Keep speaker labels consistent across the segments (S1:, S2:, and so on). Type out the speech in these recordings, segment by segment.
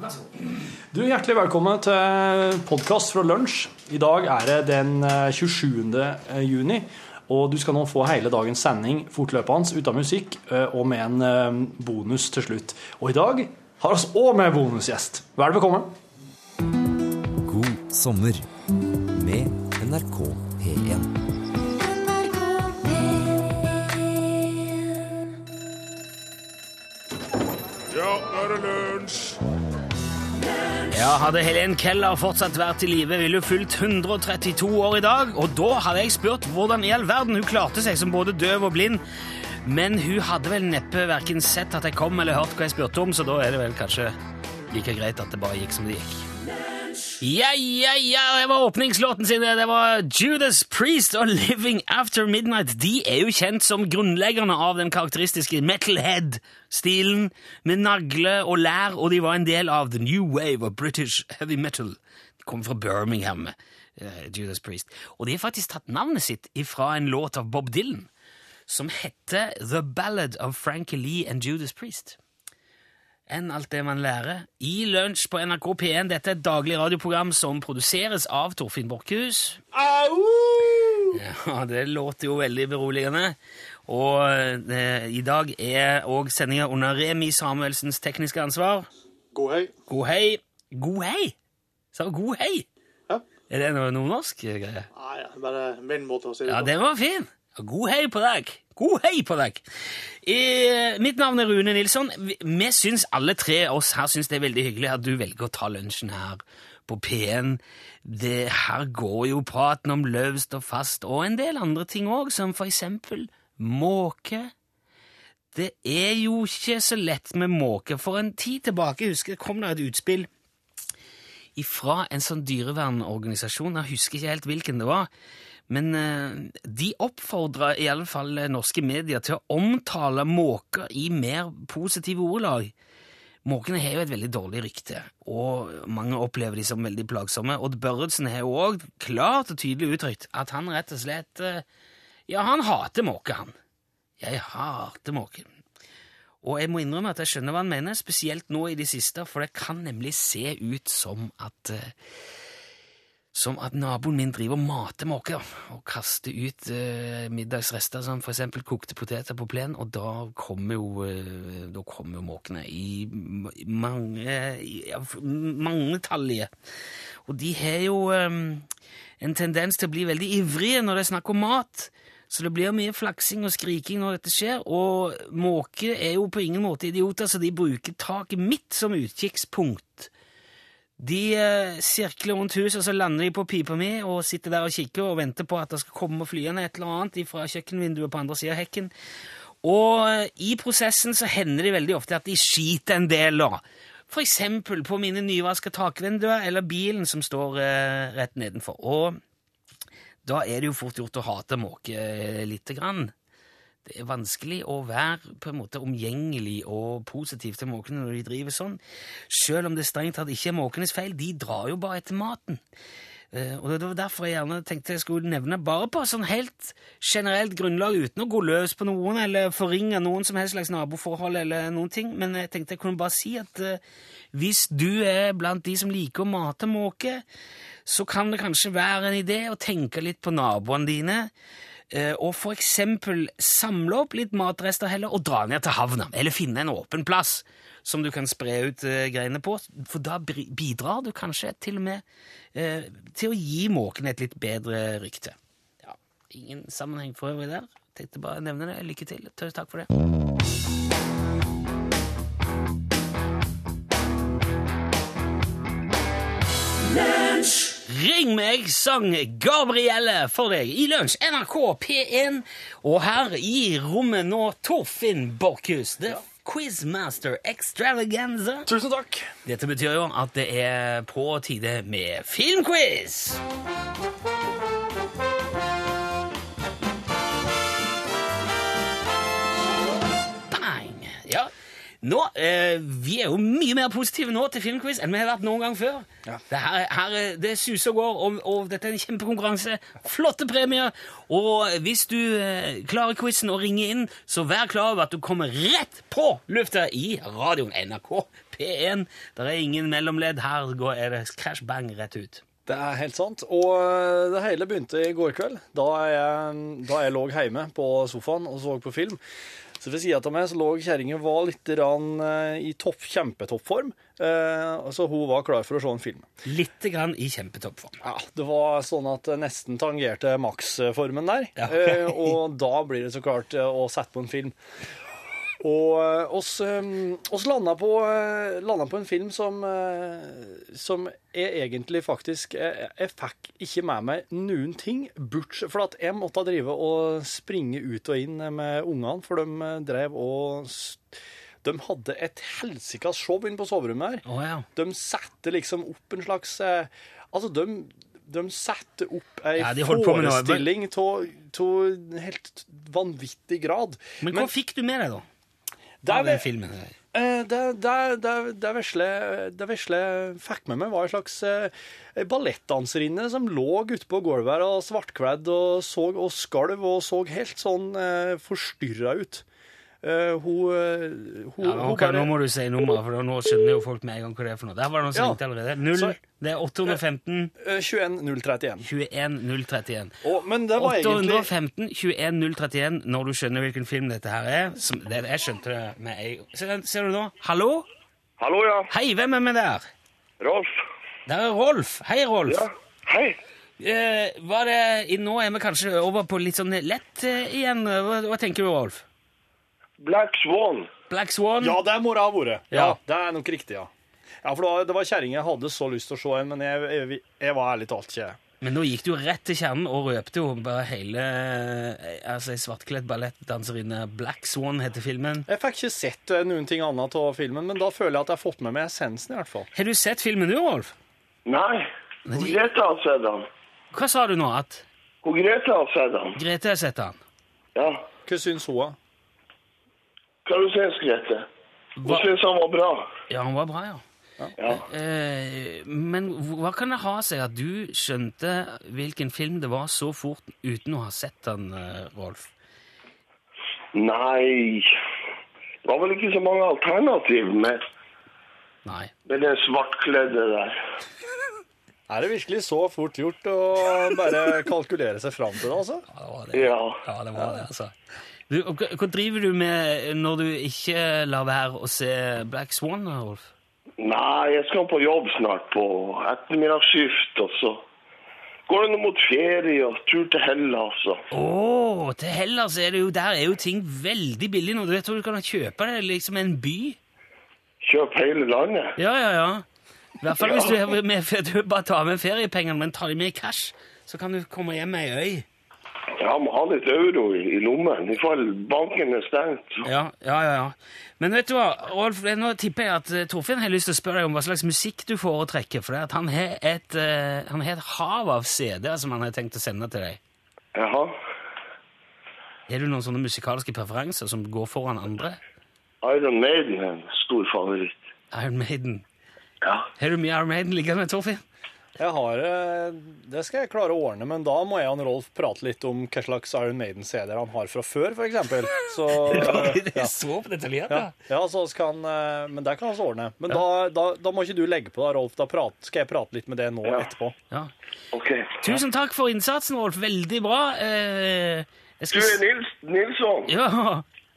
S1: vær så god.
S2: Du, Hjertelig velkommen til podkast fra lunsj. I dag er det den eh, 27. juni. Og du skal nå få hele dagens sending fortløpende uten musikk eh, og med en eh, bonus til slutt. Og i dag har vi òg med bonusgjest. Vær velkommen.
S3: God sommer med NRK P1.
S4: Ja, nå er det lunsj!
S5: Ja, Hadde Helen Keller fortsatt vært i live, ville hun fylt 132 år i dag. Og da hadde jeg spurt hvordan i all verden hun klarte seg som både døv og blind. Men hun hadde vel neppe verken sett at jeg kom eller hørt hva jeg spurte om, så da er det vel kanskje like greit at det bare gikk som det gikk. Ja, ja, ja, det var åpningslåten sin. Det var Judas Priest og Living After Midnight. De er jo kjent som grunnleggerne av den karakteristiske metalhead-stilen med nagle og lær, og de var en del av The New Wave of British Heavy Metal. De kom fra Birmingham, eh, Judas Priest. Og de har faktisk tatt navnet sitt ifra en låt av Bob Dylan som heter The Ballad of Frankie Lee and Judas Priest enn alt det man lærer. I Lunsj på NRK P1. Dette er et daglig radioprogram som produseres av Torfinn Borchhus. Ja, det låter jo veldig beroligende. Og eh, i dag er òg sendinga under Remi Samuelsens tekniske ansvar.
S1: God hei.
S5: God hei. God hei! Sa hun god hei?
S1: Ja.
S5: Er det noe nordnorsk eh, greie?
S1: Nei, det er bare min måte å si det
S5: Ja,
S1: på.
S5: den var fin. God hei på deg. God hei på deg. Eh, mitt navn er Rune Nilsson. Vi, vi syns alle tre oss her syns det er veldig hyggelig at du velger å ta lunsjen her på P1. Det her går jo praten om løvst og fast og en del andre ting òg, som for eksempel måke. Det er jo ikke så lett med måke. For en tid tilbake husker jeg, kom det et utspill ifra en sånn dyrevernorganisasjon, jeg husker ikke helt hvilken det var, men eh, de oppfordra i alle fall eh, norske medier til å omtale måker i mer positive ordelag. Måkene har jo et veldig dårlig rykte, og mange opplever de som veldig plagsomme. Odd Børredsen har jo òg klart og tydelig uttrykt at han rett og slett eh, Ja, han hater måker, han. Jeg hater måker. Og jeg må innrømme at jeg skjønner hva han mener, spesielt nå i det siste, for det kan nemlig se ut som at eh, Som at naboen min driver og mater måker og kaster ut eh, middagsrester som for eksempel kokte poteter på plen, og da kommer jo eh, Da kommer jo måkene i m- mange i- ja, f- mangetallige. Og de har jo eh, en tendens til å bli veldig ivrige når det er snakk om mat. Så det blir mye flaksing og skriking når dette skjer, og måker er jo på ingen måte idioter, så de bruker taket mitt som utkikkspunkt. De eh, sirkler rundt huset, og så lander de på pipa mi og sitter der og kikker og venter på at det skal komme flyende et eller annet fra kjøkkenvinduet på andre sida av hekken. Og eh, i prosessen så hender det veldig ofte at de skiter en del, da. For eksempel på mine nyvaska takvinduer eller bilen som står eh, rett nedenfor. Og da er det jo fort gjort å hate måke eh, lite grann. Det er vanskelig å være på en måte omgjengelig og positiv til måkene når de driver sånn, selv om det strengt tatt ikke er måkenes feil. De drar jo bare etter maten. Eh, Og det var derfor jeg gjerne tenkte jeg skulle nevne bare på sånn helt generelt grunnlag, uten å gå løs på noen eller forringe noen som helst slags naboforhold eller noen ting, men jeg tenkte jeg kunne bare si at eh, hvis du er blant de som liker å mate måke, så kan det kanskje være en idé å tenke litt på naboene dine, eh, og for eksempel samle opp litt matrester heller, og dra ned til havna, eller finne en åpen plass som du kan spre ut eh, greiene på, for da bri- bidrar du kanskje til og med eh, til å gi måken et litt bedre rykte. Ja, ingen sammenheng for øvrig der. Tenkte bare å nevne det. Lykke til. Tø- Takk for det. Ring meg, sang Gabrielle for deg i lunsj. NRK P1. Og her i rommet nå Torfinn Borchhus, the quizmaster extravaganza.
S2: Tusen takk.
S5: Dette betyr jo at det er på tide med filmquiz! Bang! Ja. Nå, eh, vi er jo mye mer positive nå til filmquiz enn vi har vært noen gang før. Det, her, her, eh, det suser og går, og, og dette er en kjempekonkurranse. Flotte premier. Og hvis du eh, klarer quizen og ringer inn, så vær klar over at du kommer rett på lufta i radioen NRK P1. Det er ingen mellomledd. Her går, er det krasj bang rett ut.
S2: Det er helt sant. Og eh, det hele begynte i går kveld, da jeg, da jeg lå hjemme på sofaen og så på film. Så ved siden av meg så lå kjerringa var litt rann, eh, i topp, kjempetoppform, eh, så hun var klar for å se en film.
S5: Litt grann i kjempetoppform.
S2: Ja, Det var sånn at det nesten tangerte maksformen der.
S5: Ja.
S2: Eh, og da blir det så klart eh, å sette på en film. Og eh, oss, eh, oss landa, på, eh, landa på en film som, eh, som jeg egentlig faktisk Jeg, jeg fikk ikke med meg noen ting, bortsett fra at jeg måtte drive og springe ut og inn med ungene, for de eh, drev og s- De hadde et helsikas show inne på soverommet her.
S5: Å ja.
S2: De setter liksom opp en slags eh, Altså, de, de setter opp ei
S5: Ja, de holdt på med noe, men-
S2: forestilling av helt vanvittig grad.
S5: Men hva fikk du med deg, da?
S2: det
S5: Av den filmen?
S2: Eh, Det, det, det, det, vesle, det vesle fikk med meg var en slags eh, ballettdanserinne som lå ute på gulvet her og svartkledd og, så, og skalv og så helt sånn eh, forstyrra ut. Eh, hun, eh, hun,
S5: Ja, men
S2: hun
S5: ok, Nå må du si nummeret, for da- nå skjønner jo folk med en gang hva det er for noe. Der var det noen som
S2: Ja.
S5: ringte allerede. Null,
S2: Så-
S5: det er 815
S2: eh, 21.031.
S5: 21 031.
S2: Og- Men det var egentlig
S5: 815 21 031 når du skjønner hvilken film dette her er. Som, det, jeg skjønte det med en gang. Se den- Ser du nå? Hallo?
S6: Hallo, ja.
S5: Hei, hvem er vi der?
S6: Rolf.
S5: Der er Rolf. Hei, Rolf.
S6: Ja. Hei.
S5: Eh, var det, i- nå er vi kanskje over på litt sånn lett eh, igjen. Hva, hva tenker du, Rolf?
S6: Black Swan.
S5: Black Swan?
S2: Ja, det må det ha vært. Ja.
S5: Mm. Ja.
S2: det er nok riktig, ja. Ja, for det var, det var kjerringa jeg hadde så lyst til å se en, men jeg, jeg, jeg var ærlig talt ikke
S5: Men nå gikk du rett til kjernen og røpte jo bare hele eh, altså, ei svartkledd ballettdanserinne. Black Swan heter filmen.
S2: Jeg fikk ikke sett eh, noen ting annet av filmen, men da føler jeg at jeg har fått med meg essensen, i hvert fall.
S5: Har du sett filmen nå, Rolf?
S6: Nei. Hun Grete har sett den.
S5: Hva sa du nå? At
S6: Hun Grete har sett den.
S5: Grete har sett den?
S6: Ja.
S2: Hva syns hun? da?
S6: Hva du syns Grete? Hun
S5: Hva-
S6: syns han var bra.
S5: Ja, han var bra, ja.
S6: Ja.
S5: Eh, men hva kan det ha seg at du skjønte hvilken film det var så fort uten å ha sett den, eh, Rolf?
S6: Nei. Det var vel ikke så mange alternativ med,
S5: Nei.
S6: med det svartkledde der.
S2: Er det virkelig så fort gjort å bare kalkulere seg fram til det, altså?
S5: Ja, det var det.
S6: Ja.
S5: Ja, det var det, altså. Du, og hva hva driver du med når du ikke lar være å se Black Swan, Rolf?
S6: Nei, jeg skal på jobb snart på ettermiddagsskift, og så går det nå mot ferie og tur til Hellas og
S5: Å, til Hellas er det jo Der er jo ting veldig billig nå. Du vet hvor du kan kjøpe det? Liksom en by?
S6: kjøpe hele landet.
S5: Ja, ja, ja. I hvert fall hvis du, er med, du bare tar med feriepengene, men tar de med i cash, så kan du komme hjem med ei øy.
S6: Ja, må ha litt euro i, i lommen, i fall banken er stengt. så-
S5: Ja, ja, ja, ja. Men vet du hva, Rolf, nå tipper jeg at eh, Torfinn har lyst til å spørre deg om hva slags musikk du foretrekker, for det er at han har et, eh, han har et hav av CD-er som han har tenkt å sende til deg.
S6: Jaha.
S5: Er du noen sånne musikalske preferanser som går foran andre?
S6: Iron Maiden er en stor favoritt.
S5: Iron Maiden.
S6: Ja.
S5: Har du mye Iron Maiden liggende, Torfinn?
S2: Jeg har eh, Det skal jeg klare å ordne, men da må jeg og han Rolf prate litt om hva slags Iron Maiden-CD-er han har fra før, for eksempel. Så
S5: Det
S2: ja.
S5: er så detaljert,
S2: Ja,
S5: da.
S2: ja så skal han, eh, men det kan vi ordne. Men da, da, da må ikke du legge på da, Rolf. Da prat, skal jeg prate litt med det nå
S6: Ja.
S2: etterpå.
S5: Ja.
S6: Ok.
S5: Tusen takk for innsatsen, Rolf. Veldig bra. Eh, jeg
S6: Du
S5: skal
S6: er
S5: s-
S6: Nils, Nilsson.
S5: Ja.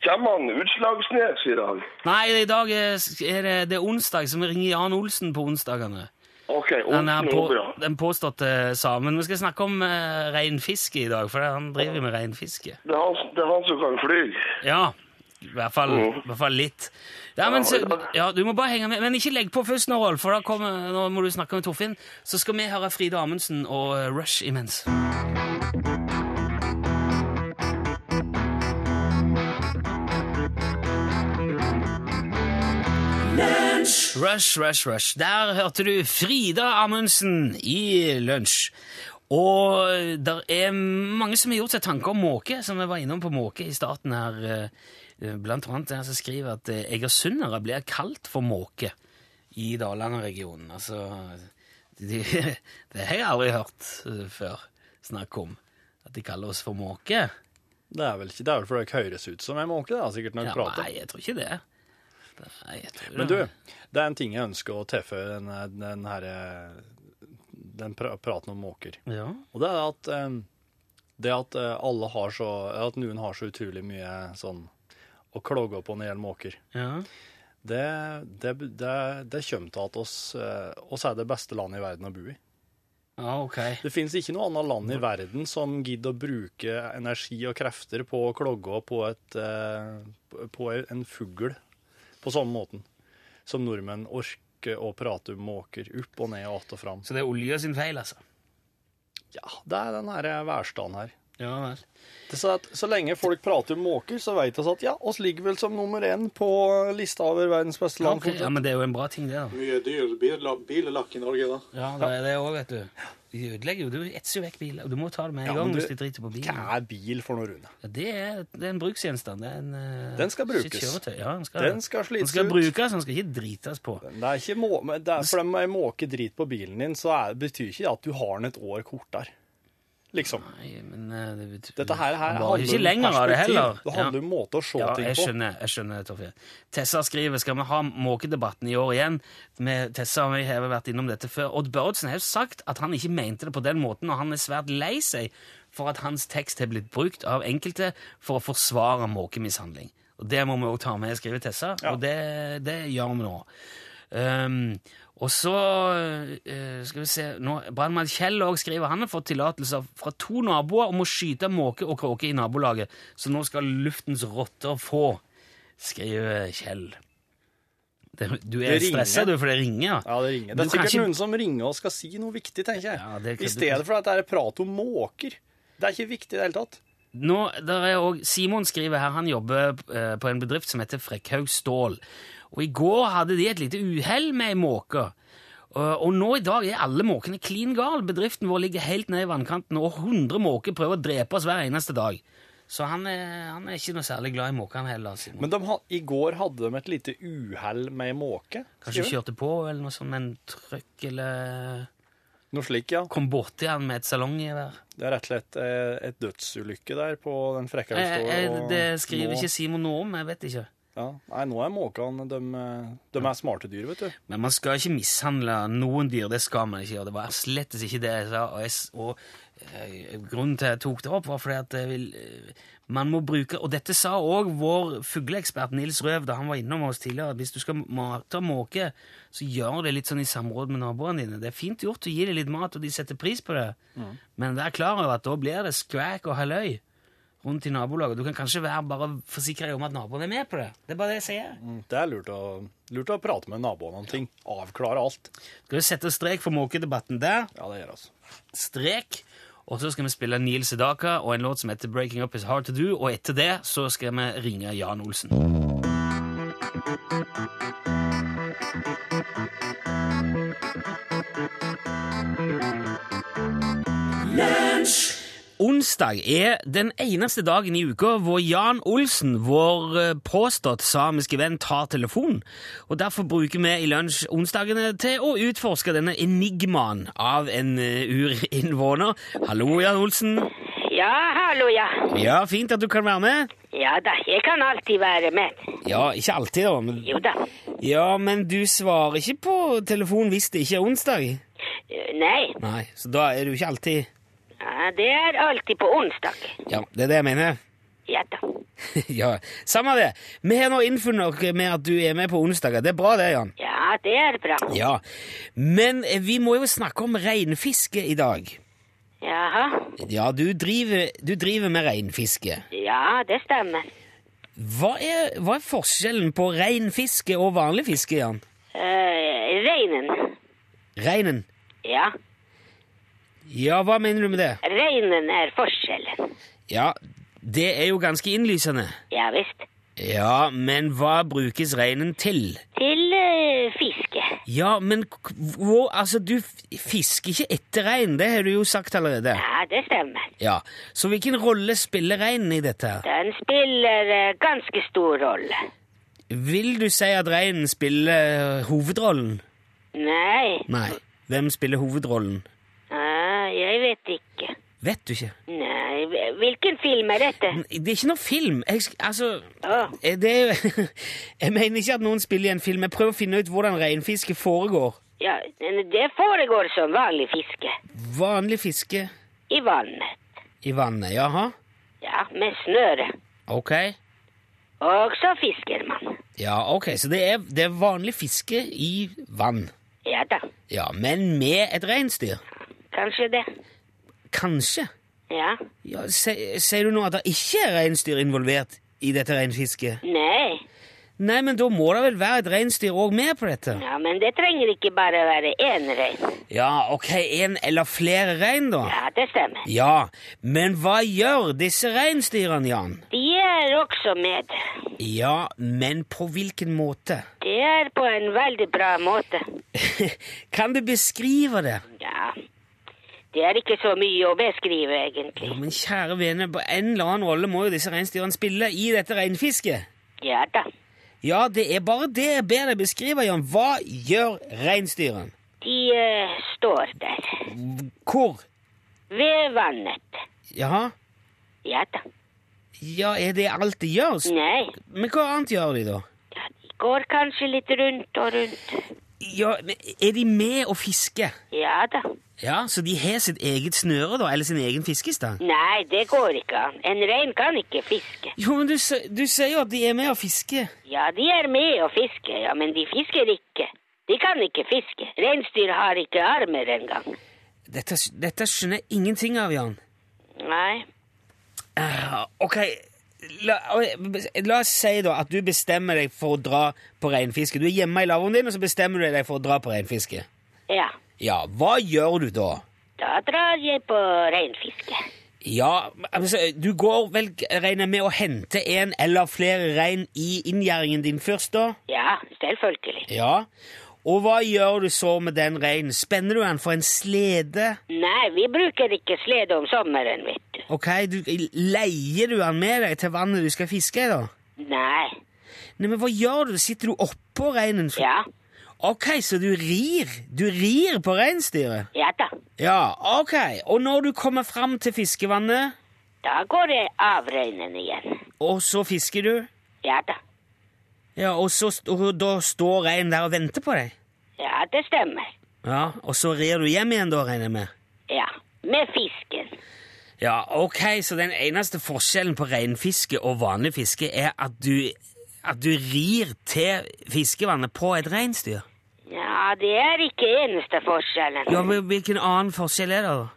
S6: Kommer han Utslagsnes i dag?
S5: Nei, i dag er er det, det er onsdag, så vi ringer Jan Olsen på onsdagene.
S6: Ok,
S5: Den, er
S6: Olsen
S5: på,
S6: Obra.
S5: den påståtte samen. Vi skal snakke om uh, reinfiske i dag, for han driver jo med reinfiske.
S6: Det er, han, det er han som kan fly.
S5: Ja, i hvert fall, i hvert fall litt. Ja, men, så, ja, du må bare henge med. Men ikke legg på først nå, Rolf, for da kommer, nå må du snakke med Torfinn. Så skal vi høre Frida Amundsen og eh, Rush imens. Rush, rush, rush. Der hørte du Frida Amundsen i lunsj. Og der er mange som har gjort seg tanker om måke, som vi var innom på måke i starten her. eh, Blant annet en som skriver at eh, egersundere blir kalt for måke i Dalandet-regionen. Altså, de, det har jeg aldri hørt eh, før snakk om, at de kaller oss for måke.
S2: Det er vel ikke, det er vel for dere høres ut som en måke, da, sikkert når
S5: Ja,
S2: dere prater.
S5: nei, jeg tror ikke det. Nei, jeg tror
S2: Men du,
S5: det.
S2: det er en ting jeg ønsker å tilføye den, den her den pra praten om måker.
S5: Ja.
S2: Og det er at eh, det at eh, alle har så At noen har så utrolig mye sånn å klage på når det gjelder måker.
S5: ja.
S2: Det, det, det, det kommer til at oss, eh, oss er det beste landet i verden å bo i.
S5: Ja, ok.
S2: Det finnes ikke noe annet land i verden som gidder å bruke energi og krefter på å klogge på, et, eh, på en fugl på samme måten som nordmenn orker å prate om måker opp og ned og att og fram.
S5: Så det er olja sin feil, altså?
S2: Ja, det er den her værstanden her.
S5: Ja vel.
S2: Det er sånn at så lenge folk prater om måker, så vet vi at ja, oss ligger vel som nummer én på lista over verdens beste land.
S5: Ok, Ja, men det er jo en bra ting, det, da.
S7: Mye dyr bil- billakk i Norge, da.
S5: Ja, det er det òg, vet du. De ødelegger jo, du etser jo vekk biler. og Du må ta det med en
S2: Ja, men
S5: gang
S2: du-
S5: hvis de driter på bilen.
S2: Hva er bil for noe, Rune?
S5: Ja, det, er, det er en bruksgjenstand. Det er en, eh,
S2: Den skal
S5: sitt
S2: brukes.
S5: kjøretøy. Ja, den skal,
S2: Den skal slites
S5: den skal
S2: ut.
S5: brukes, den skal ikke drites på.
S2: Det er ikke må, men det er, for om ei måke drit på bilen din, så er, betyr ikke det at du har den et år kortere. Liksom.
S5: Nei, men eh, det betyr
S2: Dette her, her
S5: Den
S2: handler
S5: varer ikke
S2: om
S5: lenger av det
S2: perspektiv.
S5: heller.
S2: Det handler om måte å se
S5: Ja,
S2: ting
S5: jeg
S2: på.
S5: skjønner, jeg skjønner, Torfinn. Tessa skriver skal vi ha måkedebatten i år igjen. Med Tessa og jeg har vært innom dette før. Odd Børredsen har jo sagt at han ikke mente det på den måten, og han er svært lei seg for at hans tekst har blitt brukt av enkelte for å forsvare måkemishandling. Og Det må vi også ta med, skriver Tessa, og det, det gjør vi nå. Ehm, og så eh, skal vi se nå, Brannmann Kjell også skriver han har fått tillatelse fra to naboer om å skyte måke og kråke i nabolaget, så nå skal luftens rotter få, skriver Kjell. Det, du er
S2: Det ringer.
S5: stressa, du, for det ringer.
S2: Ja, det ringer. Det
S5: Du
S2: er
S5: kan
S2: sikkert
S5: ikke-
S2: noen som ringer og skal si noe viktig, tenker jeg.
S5: Ja, det kan du-
S2: I stedet for at det er prat om måker. Det er ikke viktig i det hele tatt.
S5: Nå, der er også, Simon skriver her, han jobber eh, på en bedrift som heter Frekkhaug Stål. Og i går hadde de et lite uhell med ei måke. Eh, Og nå i dag er alle måkene klin gal. Bedriften vår ligger helt ned i vannkanten, og 100 måker prøver å drepe oss hver eneste dag. Så han er, han er ikke noe særlig glad i måkene heller, Simon.
S2: Men de, ha- i går hadde de et lite uhell med ei måke.
S5: Kanskje
S2: skriver de.
S5: kjørte på eller noe sånt, men trøkk eller
S2: Noe slik, ja.
S5: kom borti han med et salonggevær.
S2: Det er rett og slett eh, et dødsulykke der på den frekka vi
S5: Eh,
S2: står
S5: eh,
S2: og
S5: Det skriver
S2: nå-
S5: ikke Simon noe om, jeg vet ikke.
S2: Ja. Nei, nå er måkene de, de er smarte dyr, vet du.
S5: Men man skal ikke mishandle noen dyr, det skal man ikke gjøre. Det var slett ikke det jeg sa. Og, jeg, s- og eh, grunnen til jeg tok det opp, var fordi at jeg vil, eh, man må bruke Og dette sa òg vår fugleekspert Nils Røv da han var innom oss tidligere. at Hvis du skal mate måke, så gjør det litt sånn i samråd med naboene dine. Det er fint gjort å gi dem litt mat, og de setter pris på det, men vær klar over at da blir det skvæk og halløy rundt i nabolaget. Du kan kanskje være bare forsikre deg om at naboen er med på det. Det er bare det jeg sier.
S2: Det er lurt å, lurt å prate med naboene om ting. Avklare alt.
S5: Skal vi sette strek for måkedebatten der?
S2: Ja, det gjør altså.
S5: strek. Og så skal vi spille Neil Sedaka og en låt som heter 'Breaking Up Is Hard To Do'. Og etter det så skal vi ringe Jan Olsen. Onsdag er den eneste dagen i uka hvor Jan Olsen, vår eh, påstått samiske venn, tar telefon. Og Derfor bruker vi i lunsj onsdagene til å utforske denne enigmaen av en eh, urinnvåner. Hallo, Jan Olsen.
S8: Ja, hallo, ja.
S5: Ja, Fint at du kan være med.
S8: Ja da, jeg kan alltid være med.
S5: Ja, Ikke alltid, da. Men,
S8: Jo da.
S5: ja, men du svarer ikke på telefon hvis det ikke er onsdag.
S8: Eh, Nei,
S5: Nei, Så da er du ikke alltid
S8: ja, det er alltid på onsdag.
S5: Ja, det er det jeg mener.
S8: Ja da.
S5: ja, Samme det. Vi har nå innfunnet oss med at du er med på onsdager. Det er bra, det, Jan.
S8: Ja, det er bra.
S5: Ja, Men eh, vi må jo snakke om reinfiske i dag.
S8: Jaha.
S5: Ja, du driver, du driver med reinfiske.
S8: Ja, det stemmer.
S5: Hva er, hva er forskjellen på reinfiske og vanlig fiske, Jan?
S8: Eh, reinen.
S5: Reinen?
S8: Ja,
S5: Ja, hva mener du med det?
S8: reinen er forskjellen.
S5: Ja, det er jo ganske innlysende.
S8: Ja visst.
S5: Ja, men hva brukes reinen til?
S8: Til eh, fiske.
S5: Ja, men k- hvor Altså, du f- fisker ikke etter rein, det har du jo sagt allerede.
S8: Ja, det stemmer.
S5: Ja, Så hvilken rolle spiller reinen i dette? her?
S8: Den spiller eh, ganske stor rolle.
S5: Vil du si at reinen
S9: eh,
S5: spiller hovedrollen?
S8: Nei,
S5: Nei. Hvem spiller hovedrollen?
S8: ja, jeg vet ikke.
S5: Vet du ikke?
S8: Nei, Hvilken film er dette?
S9: Det er ikke noe film. Jeg, sk- altså,
S8: Ah.
S9: eh, det er jo Jeg mener ikke at noen spiller i en film. Jeg prøver å finne ut hvordan reinfiske foregår.
S8: Ja, men det foregår som vanlig fiske.
S9: Vanlig fiske
S8: I vannet.
S9: i vannet, jaha?
S8: Ja, med snøre.
S9: Ok.
S8: Og så fisker man.
S9: Ja, ok, så det er, det er vanlig fiske i vann.
S8: Ja da,
S9: Ja, men med et reinsdyr.
S8: kanskje det.
S9: Kanskje.
S8: Ja.
S9: Ja, se- Sier du nå at det ikke er reinsdyr involvert i dette reinfisket?
S8: Nei.
S9: Nei, men da må det vel være et reinsdyr òg med på dette?
S8: Ja, men det trenger ikke bare være én rein.
S9: Ja, ok, en eller flere rein, da?
S8: Ja, det stemmer.
S9: Ja, men hva gjør disse reinsdyrene, Jan?
S8: De er også med.
S9: Ja, men på hvilken måte?
S8: De er på en veldig bra måte.
S9: kan du beskrive det?
S8: Ja. Det er ikke så mye å beskrive,
S9: Jo,
S8: egentlig.
S9: men kjære vene, på en eller annen rolle må jo disse reinsdyrene spille i dette reinfisket.
S8: Ja da.
S9: Ja, det er bare det jeg ber deg beskrive, Jan. Hva gjør reinsdyrene?
S8: De eh, står der.
S9: Hvor?
S8: Ved vannet.
S9: Jaha?
S8: Ja da.
S9: Ja, er det alt de gjør? S-
S8: Nei.
S9: Men hva annet gjør de, da?
S8: Ja, de går kanskje litt rundt og rundt.
S9: Ja, men Er de med og fisker?
S8: Ja da.
S9: Ja, Så de har sitt eget snøre, da? Eller sin egen fiskestang?
S8: Nei, det går ikke an. En rein kan ikke fiske.
S9: Jo, men du, s- du sier jo at de er med og fisker.
S8: Ja, de er med og fisker, ja, men de fisker ikke. De kan ikke fiske. Reinsdyr har ikke armer engang.
S9: Dette, s- dette skjønner jeg ingenting av, Jan.
S8: Nei.
S9: Ah, Ok, la, la oss si da at du bestemmer deg for å dra på reinfiske. Du er hjemme i lavvoen din, og så bestemmer du deg for å dra på reinfiske.
S8: Ja,
S9: Ja, hva gjør du da?
S8: da drar jeg på reinfiske.
S9: Ja, altså, du går vel, regner jeg med, å hente en eller flere rein i inngjerdingen din først, da?
S8: Ja, selvfølgelig.
S9: Ja. Og hva gjør du så med den reinen? Spenner du den for en slede?
S8: Nei, vi bruker ikke slede om sommeren, vet du.
S9: Ok, du, Leier du den med deg til vannet du skal fiske i, da?
S8: Nei.
S9: Nei, men hva gjør du? Sitter du oppå reinen?
S8: Ja,
S9: Ok, så du rir? Du rir på reinsdyret?
S8: ja da.
S9: Ja, ok. Og når du kommer fram til fiskevannet,
S8: Da går jeg av reinen igjen.
S9: og så fisker du,
S8: Ja da.
S9: ja, og, så, st- og da står reinen der og venter på deg?
S8: Ja, det stemmer.
S9: Ja, og så rir du hjem igjen da, regner jeg med?
S8: Ja, med fisken.
S9: Ja, ok, så den eneste forskjellen på reinfiske og vanlig fiske er at du, at du rir til fiskevannet på et reinsdyr?
S8: Ja, det er ikke eneste forskjellen.
S9: Ja, men hvilken annen forskjell er det da?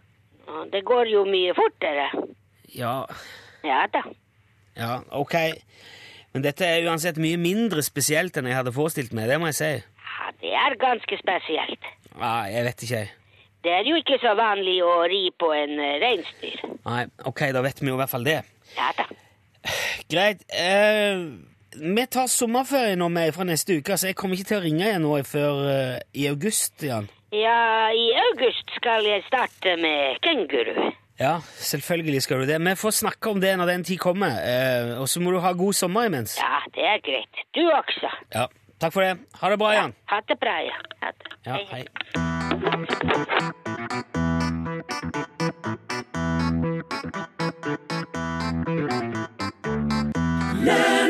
S8: Og Det går jo mye fortere.
S9: Ja,
S8: Ja da.
S9: Ja, ok. Men dette er uansett mye mindre spesielt enn jeg hadde forestilt meg, det må jeg si.
S8: Ja, det er ganske spesielt.
S9: Nei, jeg vet ikke, jeg.
S8: Det er jo ikke så vanlig å ri på en eh, reinsdyr.
S9: Nei, ok, da vet vi jo i hvert fall det.
S8: Ja da.
S9: Greit, eh, vi tar sommerferie nå med fra neste uke, så jeg kommer ikke til å ringe igjen nå før eh, i august, Jan.
S8: Ja, i august skal jeg starte med kenguru.
S9: Ja, selvfølgelig skal du det. Vi får snakke om det når den tid kommer, eh, og så må du ha god sommer imens.
S8: Ja, det er greit. Du også.
S9: Ja, takk for det. Ha det bra, Jan.
S8: Ha det bra, ja. Ha det.
S9: Ja, hei. Det er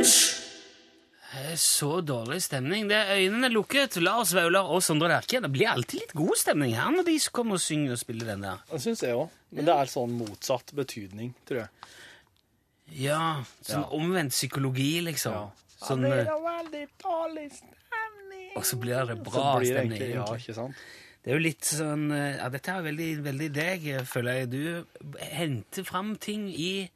S9: Eh, Så dårlig stemning. Det er Øynene lukket. Lars Vaular og Sondre Lerche. Det blir alltid litt god stemning her når de kommer og synger og spiller den der.
S2: Det syns jeg òg. Men det er sånn motsatt betydning, tror jeg.
S9: Ja, Sånn omvendt psykologi, liksom. Sånn,
S2: veldig dårlig stemning.
S9: og så blir det
S2: Så
S9: bra
S2: blir det
S9: stemning.
S2: egentlig, ja,
S9: egentlig.
S2: ikke sant?
S9: Det er jo litt sånn eh, Ja, dette er veldig, veldig deg, eh, føler jeg. Du henter fram ting i,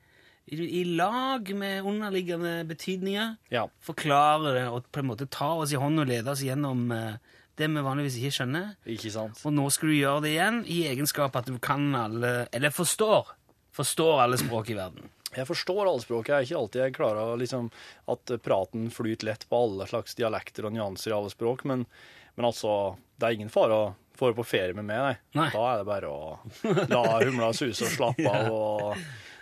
S9: i, i lag med underliggende betydninger.
S2: Ja.
S9: Forklarer det og på en måte tar oss i hånden og leder oss gjennom eh, det vi vanligvis ikke skjønner.
S2: Ikke sant.
S9: Og nå skal du gjøre det igjen i egenskap at du kan alle Eller forstår. Forstår alle språk i verden.
S2: Jeg forstår alle språk. Jeg er ikke alltid jeg klarer å liksom, at praten flyter lett på alle slags dialekter og nyanser i alle språk, men, men altså, det er ingen fare å få det på ferie med meg, nei.
S9: Nei.
S2: Da er det bare å la humla suse og slappe av, og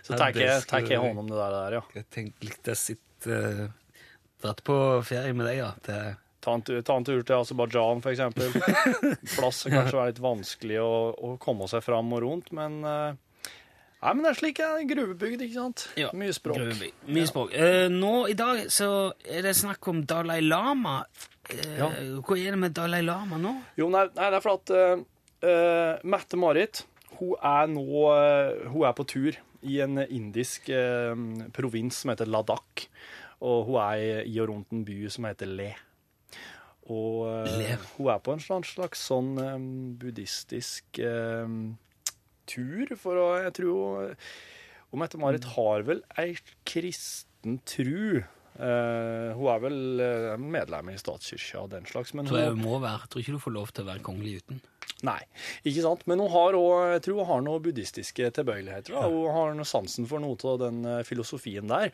S2: så
S9: Ja,
S2: tar
S9: det
S2: jeg, tar
S9: skulle
S2: jeg
S9: du-
S2: hånd om det der, der, ja.
S9: Jeg tenkte litt å sitte Dratt på ferie med deg, ja. til-
S2: Ta en, tu- ta en tur til Aserbajdsjan, for eksempel. Plass som kanskje er litt vanskelig å, å komme seg fram og rundt, men eh, Nei, men det er slik en gruvebygd, ikke sant?
S5: Ja,
S2: Mye språk.
S5: Grønby. Mye språk. Eh, nå i dag så er det snakk om Dalai Lama. Eh,
S2: Ja.
S5: Hva er det med Dalai Lama nå?
S2: Jo, nei, nei, det er for at eh, eh, Mette-Marit, hun er nå eh, Hun er på tur i en indisk eh, provins som heter Ladakh. Og hun er i og rundt en by som heter Leh. Og eh,
S5: Leh.
S2: hun er på en slags, slags sånn eh, buddhistisk eh, tur, for å Jeg tror hun eh, Og Mette-Marit har vel ei kristen tru. Eh, hun er vel eh, medlem i statskirka og den slags, men
S5: Tror jeg
S2: hun,
S5: må være. Tror ikke du får lov til å være kongelig uten.
S2: Nei, ikke sant? Men hun har også, jeg tror hun har noen buddhistiske tilbøyeligheter. da. Hun har noe sansen for noe av den eh, filosofien der.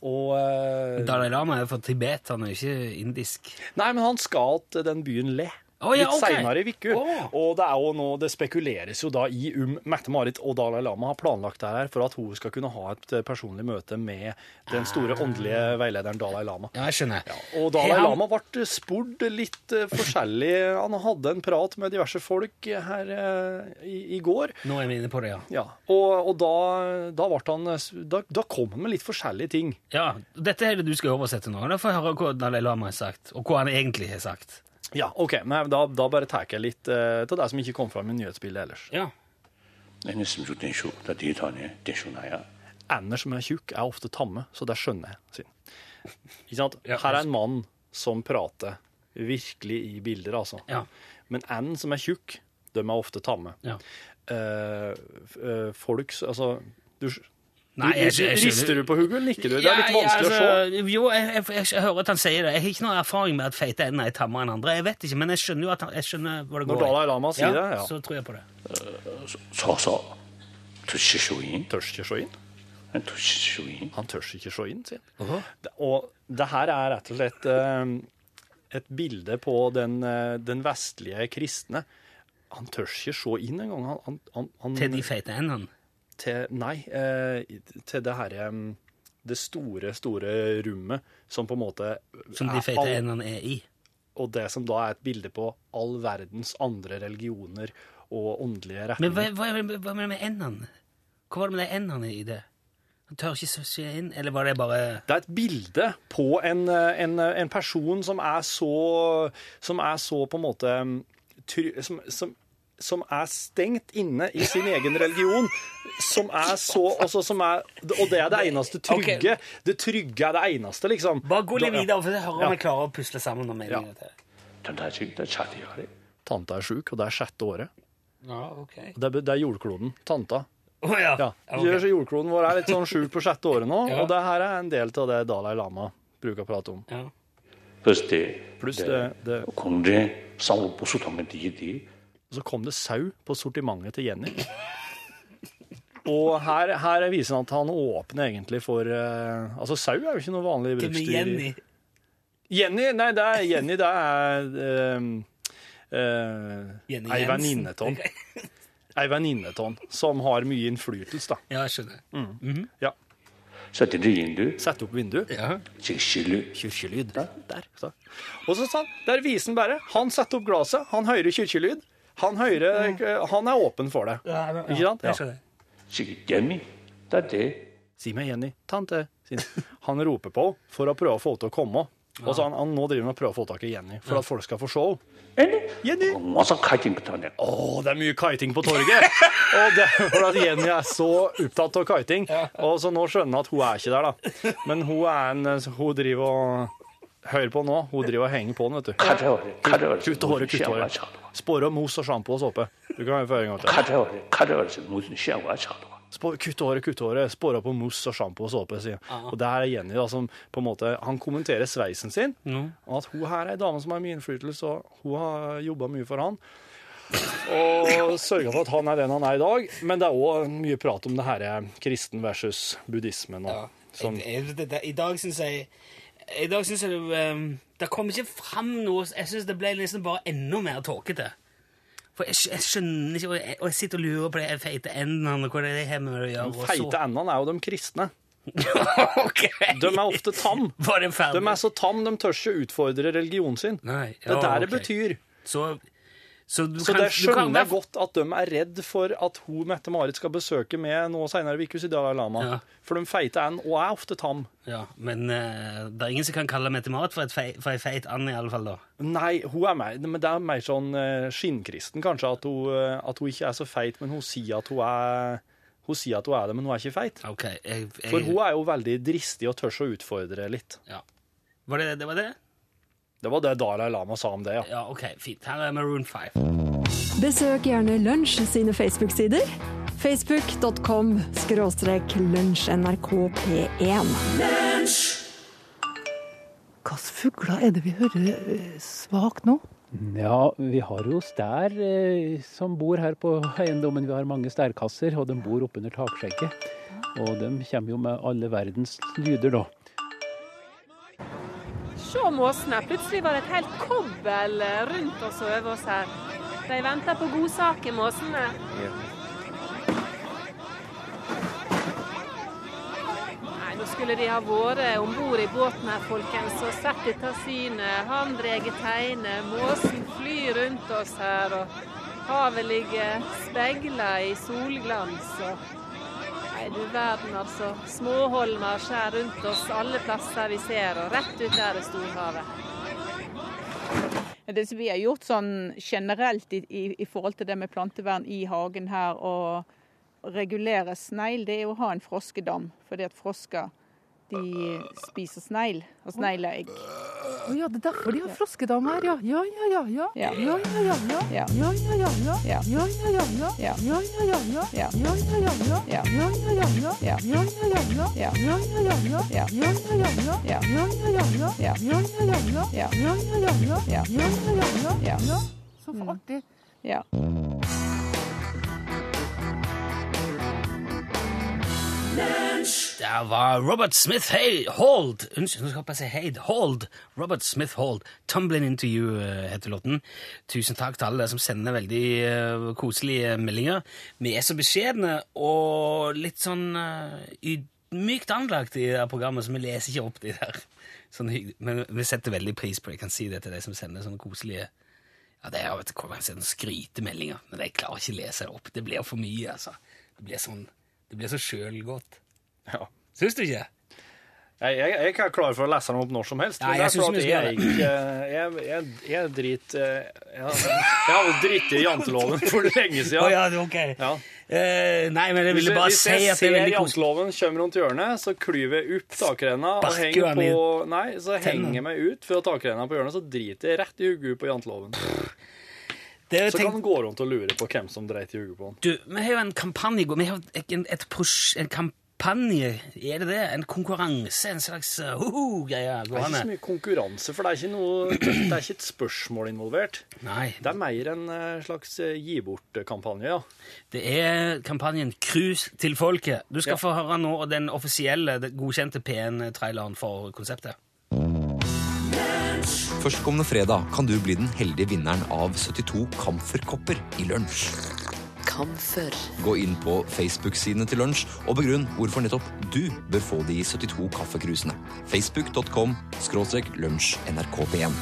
S2: Og, eh,
S5: Dalai Lama er fra Tibet, han er ikke indisk.
S2: nei, men han skal til den byen Le.
S5: Å, ja,
S2: Litt
S5: ok.
S2: seinere i uka.
S5: Å.
S2: Og det er jo nå, det spekuleres jo da i um Mette-Marit og Dalai Lama har planlagt det her for at hun skal kunne ha et eh, personlig møte med den store åndelige veilederen Dalai Lama.
S5: Ah. Ja, jeg skjønner.
S2: Og Dalai
S5: Har han-
S2: Lama ble spurt litt eh, forskjellig. Han hadde en prat med diverse folk eh, her eh, i, i går.
S5: Nå er vi inne på det, ja.
S2: Ja, og, og da, da, ble han, eh, da, da kom han med litt forskjellige ting.
S5: ja. Dette er det du skal oversette nå. Da får jeg høre hva Dalai Lama har sagt, og hva han egentlig har sagt.
S2: Ja, ok, men da, da bare tar jeg litt eh, til det som ikke kom fram i nyhetsbildet ellers.
S5: Ja.
S2: Ender som er tjukk, er ofte tamme, så det skjønner jeg. Sin. Ikke sant? Her er en mann som prater virkelig i bilder, altså.
S5: Ja.
S2: Men and som er tjukk, de er ofte tamme.
S5: ja.
S2: Eh, f- eh, folk s- Altså du,
S5: Nei, jeg, jeg, jeg skjønner.
S2: Rister du på hodet eller nikker du? Det er litt
S5: ja,
S2: vanskelig å se.
S5: altså, Jo, jeg, jeg, jeg, hører at han sier det. Jeg har ikke noe erfaring med at feite ender er tammere enn andre. Jeg vet ikke, men jeg skjønner jo at han, jeg skjønner hvor det
S2: Når
S5: går. i.
S2: Dalai Lama sier
S5: ja,
S2: det, ja.
S5: Så tror jeg på det.
S2: Tørs ikke se inn. Han tør ikke se inn, sier han. Det- Og det her er rett og slett eh, et bilde på den, eh, den vestlige kristne. Han tør ikke se inn engang. Han, han, han, han,
S5: Til de feite endene.
S2: til- Nei, eh, til det herre mm, Det store, store rommet som på en måte
S5: Som de
S2: er
S5: feite
S2: all-
S5: endene er i.
S2: Og det som da er et bilde på all verdens andre religioner og åndelige
S5: Men hva,
S2: retninger.
S5: hva, hva, hva med endene? Hva var det med de endene i det? Han tør ikke så- se inn, eller var det bare
S2: Det er et bilde på en, eh, en, en person som er så Som er så på en måte mm, try- som, som, som er stengt inne i sin egen religion. Som er så altså, som er, Og det er det eneste trygge.
S5: Ok.
S2: Det trygge er det eneste, liksom.
S5: Bare gå litt
S2: Da- ja.
S5: videre, for jeg hører
S2: Ja.
S5: om jeg klarer å pusle sammen noen meninger. til det.
S2: Tanta er sjuk, og det er sjette året.
S5: Ja, ok.
S2: Det er, det er jordkloden. Tanta.
S5: Å ja.
S2: Ja.
S5: Ja,
S2: Gjør
S5: ok.
S2: så Jordkloden vår er litt sånn sjuk på sjette året nå,
S5: Ja.
S2: og det her er en del av det Dalai Lama bruker å prate om.
S5: ja.
S2: Pluss det, det Og så kom det sau på sortimentet til Jenny. Og her, her viser han at han åpner egentlig for eh, Altså, sau er jo ikke noe vanlig
S5: Hvem er
S2: bruksdyr.
S5: Jenny?
S2: Jenny, nei, det er Jenny, det er eh, eh,
S5: Jenny
S2: Ei
S5: Jensen.
S2: venninne av han. Ei venninne av han, som har mye innflytelse, da.
S5: Ja, jeg skjønner.
S2: Mm. Ja. Sette opp vinduet.
S5: Ja.
S2: Kirkelyd. Der. Så. Og så sa han, der viser han bare. Han setter opp glasset, han hører kirkelyd. Han, hører, han er åpen for det. Ikke sant?
S5: Jeg skjønner.
S2: Si meg Jenny, tante. sier han. Han roper på for å prøve å få henne til å komme. Og så han, han nå driver han og prøver å få tak i Jenny, for at folk skal få se henne. Jenny! Å, det er mye kiting på torget! og det er fordi at Jenny er så opptatt av kiting. Og så nå skjønner han at hun er ikke der, da. Men hun, er en, hun driver og Hør på nå, hun driver og henger på den, vet du. Kutt håret, kutt håret. Spore og mos og sjampo og såpe. Du kan høre på en gang til. Spå- Kutt håret, kutt håret. Spora på mousse og sjampo og såpe. sier han.
S5: Ah.
S2: Og det her er Jenny da, som på en måte, han kommenterer sveisen sin. Og at hun her er ei dame som har mye innflytelse, og hun har jobba mye for han. Og sørga for at han er den han er i dag. Men det er òg mye prat om det her eh, kristen versus buddhismen. Og, som,
S5: Jeg- jeg- det- det- I dag syns jeg I dag synes jeg det, ehm, det kom ikke fram noe Jeg syns det ble nesten bare enda mer tåkete. For jeg, skj- jeg skjønner ikke, og jeg, og jeg sitter og lurer på det feite endene og hva det er det her med å gjøre. og så-
S2: feite endene er jo de kristne.
S5: ok!
S2: De er ofte tam.
S5: Var det ferdig?
S2: De er så tam, de tør ikke utfordre religionen sin.
S5: Nei,
S2: det er der
S5: ok.
S2: det betyr.
S5: Så Så, du
S2: Så
S5: kan,
S2: det
S5: du kan
S2: skjønner jeg
S5: være-
S2: godt at de er redd for at hun Mette-Marit skal besøke meg nå senere i uka i Dalai Lama.
S5: Ja.
S2: For de feite er og er ofte tam.
S5: Ja, men eh, det er ingen som kan kalle Mette-Marit for, et fei- for ei feit and, i alle fall da.
S2: Nei, hun er mer, men det er mer sånn eh, skinnkristen, kanskje, at hun, eh, at hun ikke er så feit, men hun sier at hun er, hun sier at hun er det, men hun er ikke feit.
S5: Ok, jeg, jeg,
S2: For hun er jo veldig dristig og tør å utfordre litt.
S5: ja. Var det det? var det?
S2: Det var det Dalai Lama sa om det, ja.
S5: Ja, ok, fint. Her er Maroon 5.
S10: Besøk gjerne Lunsj sine Facebook-sider. Facebook.com skråstrek lunsjnrkp1.
S11: Hvilke fugler er det vi hører eh, svakt nå?
S12: Ja, vi har jo stær eh, som bor her på eiendommen. Vi har mange stærkasser, og de bor oppunder takskjegget. Og de kommer jo med alle verdens lyder, da.
S11: Se måsene. Plutselig var det et helt kobbel eh, rundt oss og over oss her. De venter på godsaker, måsene. Nei, nå skulle de ha vært om bord i båten her, folkens, og sett dette synet. Han drar teinet, måsen flyr rundt oss her, og havet ligger speila i solglans. og... Nei, du verden, altså. Småholmer skjærer rundt oss alle plasser vi ser, og rett ut der er storhavet.
S12: Det som vi har gjort sånn generelt i, i, i forhold til det med plantevern i hagen her, og regulere snegl, det er å ha en froskedam. Fordi at frosker de spiser snegl, og snegleegg.
S11: ja, det er derfor de har froskedam her, ja. Ja, ja, ja. Ja,
S12: Ja.
S11: ja, ja. Ja, ja,
S12: Ja.
S11: ja. Ja, ja,
S12: Ja.
S11: ja. Ja, ja, ja.
S12: Ja.
S11: Ja, ja, ja. Ja,
S12: Ja.
S11: ja, ja. Ja,
S12: Ja. Ja.
S11: ja, ja. Ja, ja, ja.
S12: Ja.
S11: Ja, ja, ja.
S12: Ja. Ja.
S11: Ja, ja, ja. Ja, ja, ja. Ja,
S12: Ja.
S11: ja, ja. Ja,
S12: Ja.
S11: ja, ja. Ja,
S12: Ja.
S11: ja, ja. Ja,
S12: Ja. Mm.
S11: ja. Så artig.
S12: Ja.
S5: Der var Robert Smith Hay- Hold Unnskyld, nå skal jeg bare si Haid. Hold! Robert Smith Hold. 'Tumbling Into You' eh, heter låten. Tusen takk til alle dere som sender veldig eh, koselige meldinger. Vi er så beskjedne og litt sånn eh, ydmykt anlagt i det her programmet, så vi leser ikke opp de der. Sånn hygg- Men vi setter veldig pris på det. Jeg kan si det til de som sender sånne koselige ja, det er jo et hvordan jeg skrytemeldinger, men jeg klarer ikke å lese det opp. Det blir for mye, altså. Det blir, sånn, det blir så sjølgodt.
S2: ja.
S5: Syns du ikke?
S2: Jeg, jeg, jeg er ikke klar for å lese den opp når som helst.
S5: Nei,
S2: men det
S5: jeg
S2: er for
S5: synes
S2: at
S5: vi skal
S2: jeg, ikke- jeg, jeg, jeg drit eh, Jeg, jeg har jo driti i janteloven for lenge
S5: Å
S2: siden.
S5: ja, det er ok.
S2: Ja.
S5: Eh, nei, men jeg
S2: Hvis
S5: ville
S2: jeg,
S5: bare
S2: hvis
S5: si
S2: jeg
S5: at det er
S2: ser
S5: veldig koselig.
S2: janteloven kommer rundt hjørnet, så klyver jeg opp takrenna og
S5: Sparker
S2: henger
S5: han i
S2: på Nei, så henger
S5: tennene.
S2: jeg meg ut fra takrenna på hjørnet, så driter jeg rett i hodet på janteloven.
S5: Det er jo
S2: Så kan
S5: tenkt,
S2: han gå rundt og lure på hvem som dreit i hodet på han.
S5: du, vi har jo en kampanje i går. Vi har et, et prosj, en kampanje, er det det? En konkurranse, en slags uh, greie
S2: Det er ikke
S5: gående.
S2: så mye konkurranse, for det er ikke, noe, det er ikke et spørsmål involvert.
S5: Nei,
S2: Det er mer en eh, slags eh, gi bort-kampanje, ja.
S5: det er kampanjen Cruise til folket. Du skal
S2: Ja.
S5: få høre nå den offisielle, den godkjente P1-traileren for konseptet.
S3: Førstkommende fredag kan du bli den heldige vinneren av 72 kamferkopper i lunsj.
S11: Kamfer.
S3: Gå inn på Facebook-sidene til lunsj og begrunn hvorfor nettopp du bør få de 72 kaffekrusene. Facebook.com skråstrek lunsj nrkp1.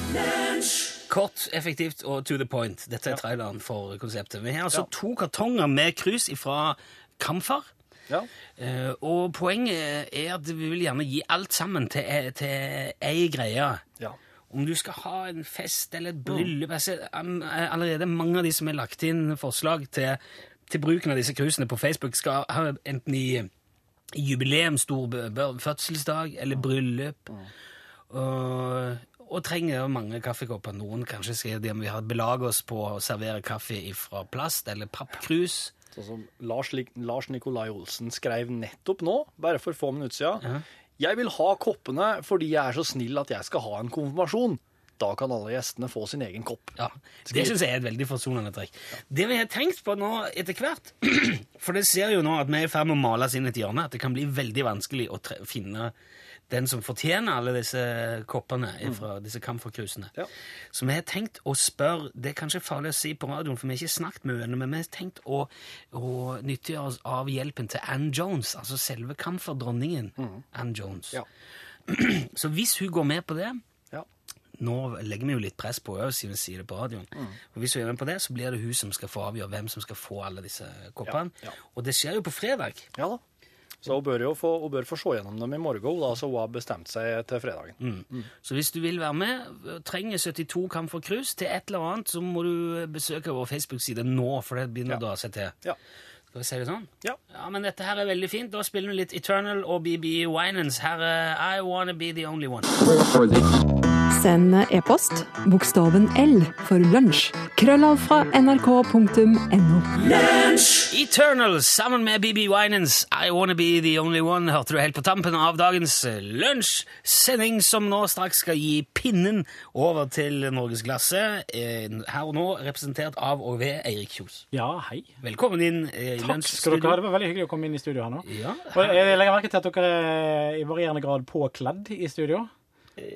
S5: Kort, effektivt og to the point. Dette er traileren for konseptet. Vi har altså to kartonger med krus fra Kamfar.
S2: Ja.
S5: Eh, og poenget er at vi vil gjerne gi alt sammen til, eh, til ei greie.
S2: Ja.
S5: Om du skal ha en fest eller et bryllup jeg ser, um, eh, Allerede mange av de som har lagt inn forslag til, til bruken av disse krusene på Facebook, skal ha enten i jubileum, stor bø- bø- fødselsdag eller bryllup. Og, og trenger mange kaffekopper. Noen kanskje skal de om vi har belaget oss på å servere kaffe fra plast eller pappkrus.
S2: Sånn som Lars, Lik- Lars Nikolai Olsen skrev nettopp nå, bare for få minutter siden. Jeg vil ha koppene fordi jeg er så snill at jeg skal ha en konfirmasjon. Da kan alle gjestene få sin egen kopp.
S5: Ja, Det syns jeg er et veldig forsonende trekk. Det vi har tenkt på nå etter hvert For det ser jo nå at vi er i ferd med å male oss inn et hjørne. At det kan bli veldig vanskelig å tre finne den som fortjener alle disse koppene fra disse kamferkrusene.
S2: Mm. Ja.
S5: Så vi har tenkt å spørre Det er kanskje farlig å si på radioen, for vi har ikke snakket med henne, men vi har tenkt å, å nyttiggjøre oss av hjelpen til Ann Jones, altså selve kamferdronningen Ann Jones.
S2: Mm. Ja.
S5: Så hvis hun går med på det
S2: Ja.
S5: nå legger vi jo litt press på henne, siden vi sier det på radioen.
S9: Mm.
S5: Og hvis hun er med på det, så blir det hun som skal få avgjøre hvem som skal få alle disse koppene.
S13: Ja, ja.
S5: Og det skjer jo på fredag.
S13: Ja da. Så hun bør jo få, hun bør få se gjennom dem i morgen, hun da, så hun har bestemt seg til fredagen.
S5: Så hvis du vil være med, trenger 72 kamp for krus til et eller annet, så må du besøke vår Facebook-side nå, for det begynner å dra seg til. Skal vi si det sånn? Ja. men dette her er veldig fint. Da spiller vi litt Eternal og BB Winans. Her er I Wanna Be The Only One.
S10: Send e-post bokstaven L for lunsj. Krøllav fra nrk.no.
S5: Eternal sammen med BB Winans. I Wanna Be The Only One hørte du helt på tampen av dagens eh, lunsjsending, som nå straks skal gi pinnen over til Norgesglasset. Eh, Her og nå representert av og ved Eirik Kjos.
S14: Ja, hei.
S5: Velkommen inn eh, i
S14: Takk skal dere ha. Det
S5: lunsjstudio.
S14: var veldig hyggelig å komme inn i studio her nå.
S5: Ja,
S14: Og eh, jeg legger merke til at dere er i varierende grad påkledd i studio.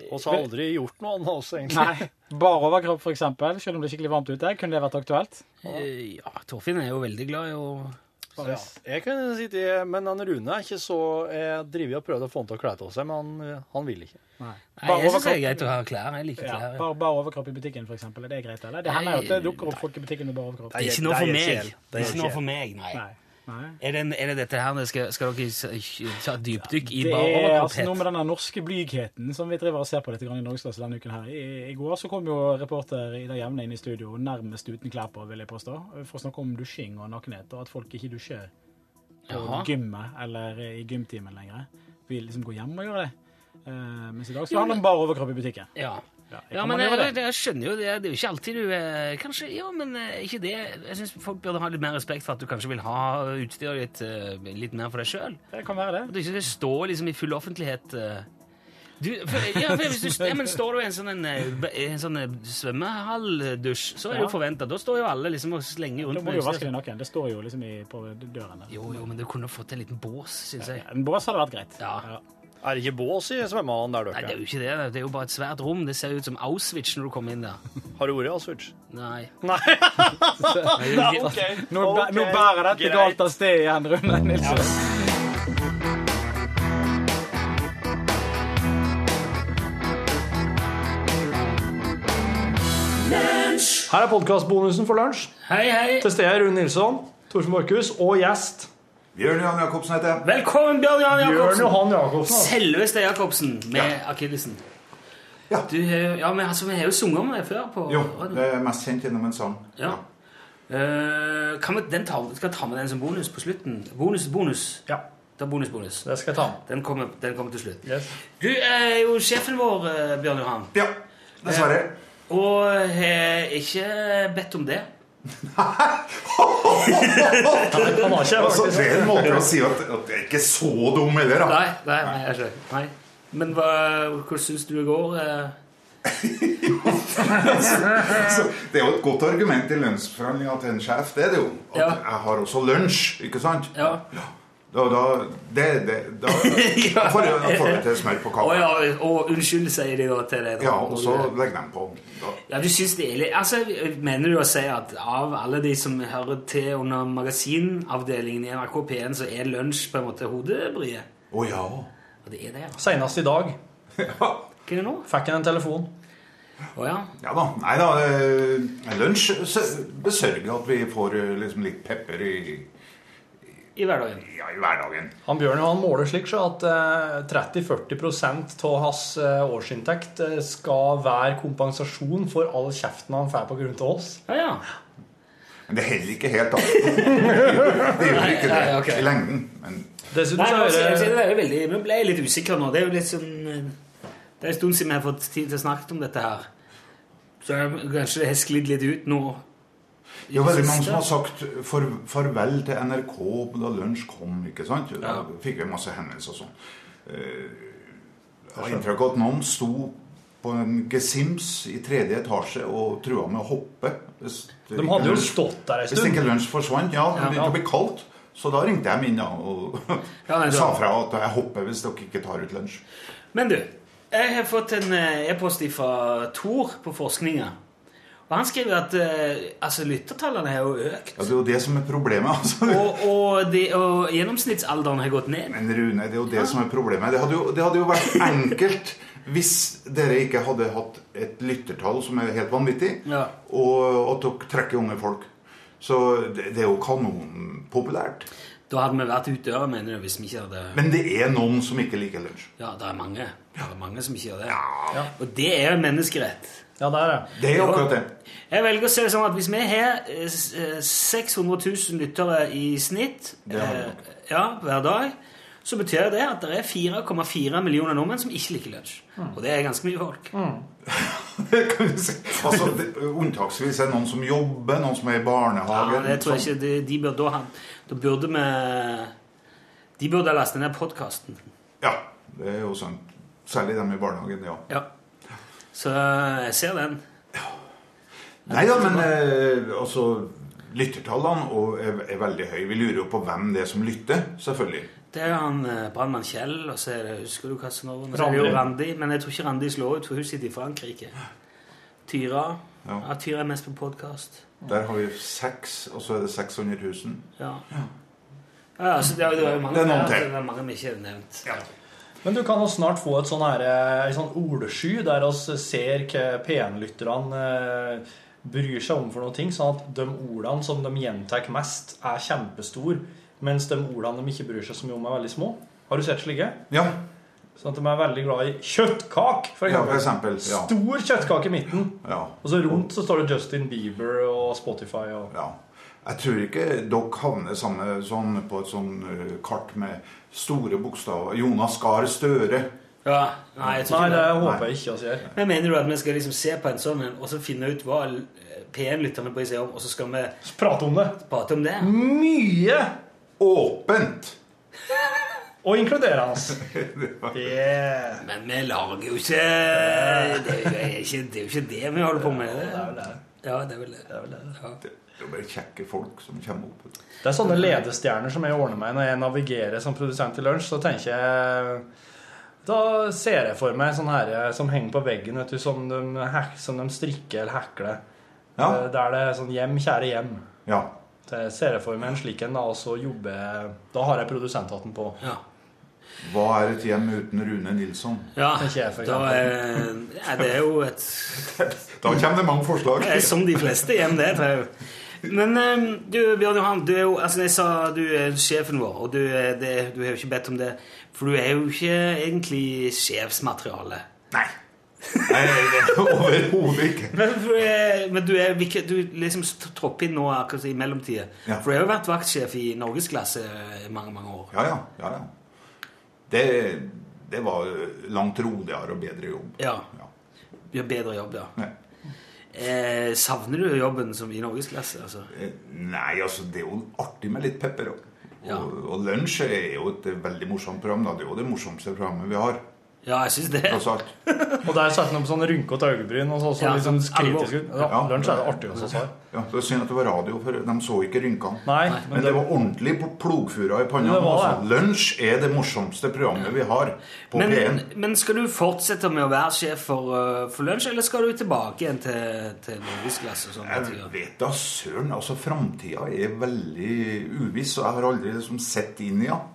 S13: Og så har jeg aldri gjort noe annet også, egentlig.
S14: Nei. Bar overkropp, for eksempel, selv om det er skikkelig varmt ute. Kunne det vært aktuelt?
S5: Eh, Ja, Torfinn er jo veldig glad i å
S13: Så Ja. Jeg kunne si det, men han Rune er ikke så Jeg driver og prøver å få han til å kle av seg, men han, han vil ikke.
S14: Nei.
S5: Nei, jeg synes det er greit å ha klær. Jeg liker
S14: Ja,
S5: klær.
S14: Bare bar overkropp i butikken, for eksempel. Er det greit, eller? Det hender jo at det dukker opp folk i butikken med bar overkropp.
S5: Det er ikke noe for meg. Det er ikke noe for meg, nei.
S14: Nei.
S5: Er, det, er det dette her det skal, skal dere s- ta dypdykk i
S14: Det
S5: bare
S14: er altså noe
S5: overkropphet?
S14: med denne norske blygheten som vi driver og ser på litt grann i Norgesklasse denne uken her. I, I går så kom jo reporter Ida Jevne inn i studio nærmest uten klær på, vil jeg påstå, for å snakke om dusjing og nakenhet, og at folk ikke dusjer på
S5: Jaha.
S14: gymmet eller i gymtimen lenger. Vi liksom går hjem og gjør det. Eh, mens i dag så handler det om bare overkropp i butikken.
S5: Ja.
S14: jeg
S5: Ja,
S14: kan
S5: men jeg,
S14: gjøre det.
S5: jeg, jeg skjønner jo det. Det er jo ikke alltid du eh, Kanskje Ja, men eh, ikke det. Jeg syns folk burde ha litt mer respekt for at du kanskje vil ha utstyret ditt eh, litt mer for deg sjøl.
S14: Det kan være det.
S5: At du ikke skal stå liksom i full offentlighet. eh. Du, for, ja, for hvis du, ja, men Står du i en sånn, en, eh, b- en sånn eh, svømmehalldusj, så er det jo
S14: Ja.
S5: forventa. Da står jo alle liksom og slenger rundt
S14: Da må du jo
S5: utstyr.
S14: vaske deg naken. Det står jo liksom i, på døren der.
S5: Jo, jo, men du kunne fått en liten bås, syns jeg.
S14: En bås hadde vært greit.
S13: Er det ikke bås i svømmehallen der dere
S5: Nei, det er jo ikke det. Det er jo bare et svært rom. Det ser jo ut som Auschwitz når du kommer inn der.
S13: Har du vært i Auschwitz?
S5: Nei.
S14: Nei,
S5: ok.
S14: Nå, bæ- nå
S5: Ok,
S14: bærer dette
S5: greit.
S14: galt av sted igjen, Rune Nilsen.
S2: Her er podkastbonusen for lunsj.
S5: Hei, hei.
S2: Til stede er Rune Nilsson, Torfinn Borchhus og gjest.
S15: Bjørn Johan Jacobsen heter jeg.
S5: Velkommen, Bjørn Johan Jacobsen.
S2: Bjørn Johan Jacobsen.
S5: Selveste Jacobsen med akillesen. Ja. Du, har- ja, men altså, vi har jo sunget om det før. på
S15: Jo,
S5: radio.
S15: det er mest kjent gjennom en sang.
S5: Ja. Eh, kan vi den ta, skal jeg ta med den som bonus på slutten? Bonus, bonus.
S2: Ja.
S5: Da bonus, bonus.
S2: Det skal jeg ta med.
S5: Den kommer, den kommer til slutt. Du er jo sjefen vår, eh, Bjørn Johan. Eh,
S15: Ja, dessverre.
S5: og har ikke bedt om det.
S15: altså, det er en måte å si at, at jeg er ikke så dum heller, da.
S5: Nei, nei, nei, jeg skjønner. Nei. Men hva, hvordan syns du det går? eh?
S15: Så det er jo et godt argument i lønnsforhandlinger til en sjef, det er det jo. At jeg har også lunsj, ikke sant?
S5: Ja.
S15: Da, da, det, det, da, da får jeg- da får jeg til smør på
S5: Å
S15: kaka.
S5: ja, og unnskyld, sier de da til deg. da,
S15: Ja,
S5: når
S15: og
S5: du-
S15: så legger de på. Da.
S5: Ja, du syns det er litt Altså, mener du å si at av alle de som hører til under magasinavdelingen i NRK P1, så er lunsj på en måte hodebryet?
S15: Å ja.
S5: Og det er det, ja.
S2: Senest i dag.
S5: Hva er det nå?
S2: Fikk jeg en telefon.
S5: Å ja.
S15: Ja da. Nei da. eh, Lunsj s- besørger at vi får eh, liksom litt pepper i,
S5: I hverdagen.
S15: ja, i hverdagen.
S2: Han Bjørn Johan måler slik så at eh, 30-40 av hans eh, årsinntekt eh, skal være kompensasjon for all kjeften han får pga. oss.
S5: Ja, ja.
S15: Men det heller ikke helt, da. det gjør ikke det
S5: Nei,
S15: i lengden. Men
S2: Dessuten
S5: Nei,
S2: så
S5: altså,
S2: er
S5: jeg
S2: det
S5: sier det er jo veldig, men ble jeg litt usikker nå. Det er jo litt sånn eh, Det er en stund siden vi har fått tid til å snakke om dette her. Så jeg, kanskje det har sklidd litt ut nå. i
S15: det er veldig mange
S5: siste.
S15: som har sagt for, farvel til NRK da lunsj kom. ikke sant? Da fikk vi masse henvendelser og sånn. Eh, Jeg har inntrykk av at noen sto på en gesims i tredje etasje og trua med å hoppe. hvis det
S2: De
S15: ikke
S2: hadde jo
S15: lunsj-
S2: stått der en
S15: Hvis
S2: stund.
S15: ikke lunsj forsvant. Ja, det
S2: Ja.
S15: begynte å bli kaldt. Så da ringte jeg inn da, og
S5: nei,
S15: sa
S5: da-
S15: fra at jeg hopper hvis dere ikke tar ut lunsj.
S5: Men du, jeg har fått en eh, e-post fra Tor på forskninga. Og han skriver at eh, altså, lyttertallene har jo økt,
S15: Ja, Det er jo det som er problemet. altså.
S5: og, og, de, og gjennomsnittsalderen har gått ned.
S15: Men Rune, det er jo det som er problemet. Det hadde jo, det hadde jo vært enkelt Hvis dere ikke hadde hatt et lyttertall som er helt vanvittig, og at dere trekker unge folk Så det, det er jo kanonpopulært.
S5: Da hadde vi vært ute døra, mener du, hvis vi ikke hadde
S15: Men det er noen som ikke liker lunsj.
S5: Ja, det er mange. Det er mange som ikke gjør det. Og det er en menneskerett.
S2: Ja, det er det.
S15: Det er jo akkurat det.
S5: Jeg velger å se det sånn at hvis vi har eh, s- eh, 600 000 lyttere i snitt
S15: Det har vi
S5: eh,
S15: nok.
S5: ja, hver dag, så betyr det at det er 4,4 millioner nordmenn som ikke liker lunsj.
S15: Mm.
S5: Og det er ganske mye folk.
S15: Altså, det, Unntaksvis er det noen som jobber, noen som er i barnehage
S5: Ja, det tror jeg
S15: sånn.
S5: ikke de, de burde, da, ha- da burde vi De burde ha lastet ned podkasten.
S15: Ja, det er jo sant. Særlig dem i barnehagen, ja.
S5: Ja. Så eh, jeg ser den.
S15: Nei da, men eh, altså Lyttertallene og er, er veldig høye. Vi lurer jo på hvem det er som lytter, selvfølgelig.
S5: Det er han eh, brannmann Kjell, og så er det, husker du hva som var under? Så er det jo
S15: Randi.
S5: Randi, men jeg tror ikke Randi slår ut, for hun sitter i Frankrike. Tyra. Ja. Tyra er mest på podkast.
S15: Der har vi seks, og så er det 600 000.
S5: Ja. Ja, så det, er- det er jo mange,
S15: Det er noen
S5: flere,
S15: til.
S5: det er mange vi ikke har nevnt.
S2: Men du kan jo snart få et sånn her, eh, en sånn ordesky der oss ser hva P1-lytterne eh, bryr seg om for noe ting, sånn at de ordene som de gjentar mest, er kjempestor, mens de ordene de ikke bryr seg så mye om, er veldig små. Har du sett slike?
S15: Ja.
S2: Sånn at de er veldig glad i kjøttkak, for
S15: Ja,
S2: eksempel.
S15: for eksempel, ja.
S2: Stor kjøttkake i midten.
S15: Ja.
S2: Og så rundt så står det Justin Bieber og Spotify og
S15: Ja. Jeg tror ikke dere havner samme, sånn, på et sånn eh, kart med store bokstaver. Jonas Gahr Støre.
S5: Ja, nei, jeg tror
S2: det håper jeg ikke oss gjør.
S5: Men mener du at vi skal liksom se på en sånn en, og så finne ut hva eh, P1-lytterne bryr seg om, og så skal vi
S2: Prate om det.
S5: prate om det?
S2: Mye
S15: åpent
S2: og inkluderende. yeah.
S5: Men vi lager jo ikke Det er jo ikke det, er jo ikke det vi holder på med. Ja, det er vel det. Ja.
S15: Det er jo bare kjekke folk som kommer opp. vet du.
S2: Det er sånne ledestjerner som jeg ordner meg når jeg navigerer som produsent i lunsj. Så tenker jeg Da ser jeg for meg sånne her eh, som henger på veggen, vet du, som de, hek- som de strikker eller hekler. Eh, Der det er sånn 'hjem, kjære hjem'.
S15: Ja.
S2: Så jeg ser jeg for meg en slik en, da, og så jobber jeg Da har jeg produsenthatten på.
S15: Hva er et hjem uten Rune Nilsson?
S5: Ja,
S2: Tenker jeg, for
S5: da er,
S2: eksempel.
S5: ja, det er jo et
S15: Da kommer det mange forslag.
S5: Det er Som de fleste hjem, det, tror jeg. Men eh, du, Bjørn Johan, du er jo altså jeg sa du er sjefen vår, og du, er det, du har jo ikke bedt om det. For du er jo ikke egentlig sjefsmateriale.
S15: Nei. Nei, overhodet ikke.
S5: Men, for, eh, men du er hvilke- du liksom tropper inn nå akkurat i mellomtida.
S15: Ja.
S5: For du har jo vært vaktsjef i norgesklasse i mange, mange år.
S15: Ja, ja. ja, ja. Det, det var langt roligere og bedre jobb.
S5: Ja. Gjør bedre jobb, ja.
S15: Ja.
S5: Eh, savner du jobben som i norgesklasse? Altså?
S15: Eh, Nei, altså, det er jo artig med litt pepper. Og,
S5: Ja.
S15: og, og Lunsj er jo et veldig morsomt program. Da. Det er jo det morsomste programmet vi har.
S5: Ja, jeg syns det.
S15: Tross alt.
S2: Og der satte de opp sånn rynkete øyebryn og så, så
S15: Ja,
S2: litt sånn
S15: sånn alvor.
S2: kritisk ut. Ja,
S15: Ja.
S2: Lunsj er det artigste vi har.
S15: Ja, det var synd at det var radio, for de så ikke rynkene.
S2: Nei,
S15: men, det var ordentlig pl- plogfura i panna.
S5: Det var
S15: altså. Lunsj er det morsomste programmet vi har på
S5: Men,
S15: P1.
S5: men skal du fortsette med å være sjef for, eh, for lunsj, eller skal du tilbake igjen til, til norgesklasse? og sånn?
S15: Jeg vet da søren. altså Framtida er veldig uviss, og jeg har aldri liksom sett inn i henne.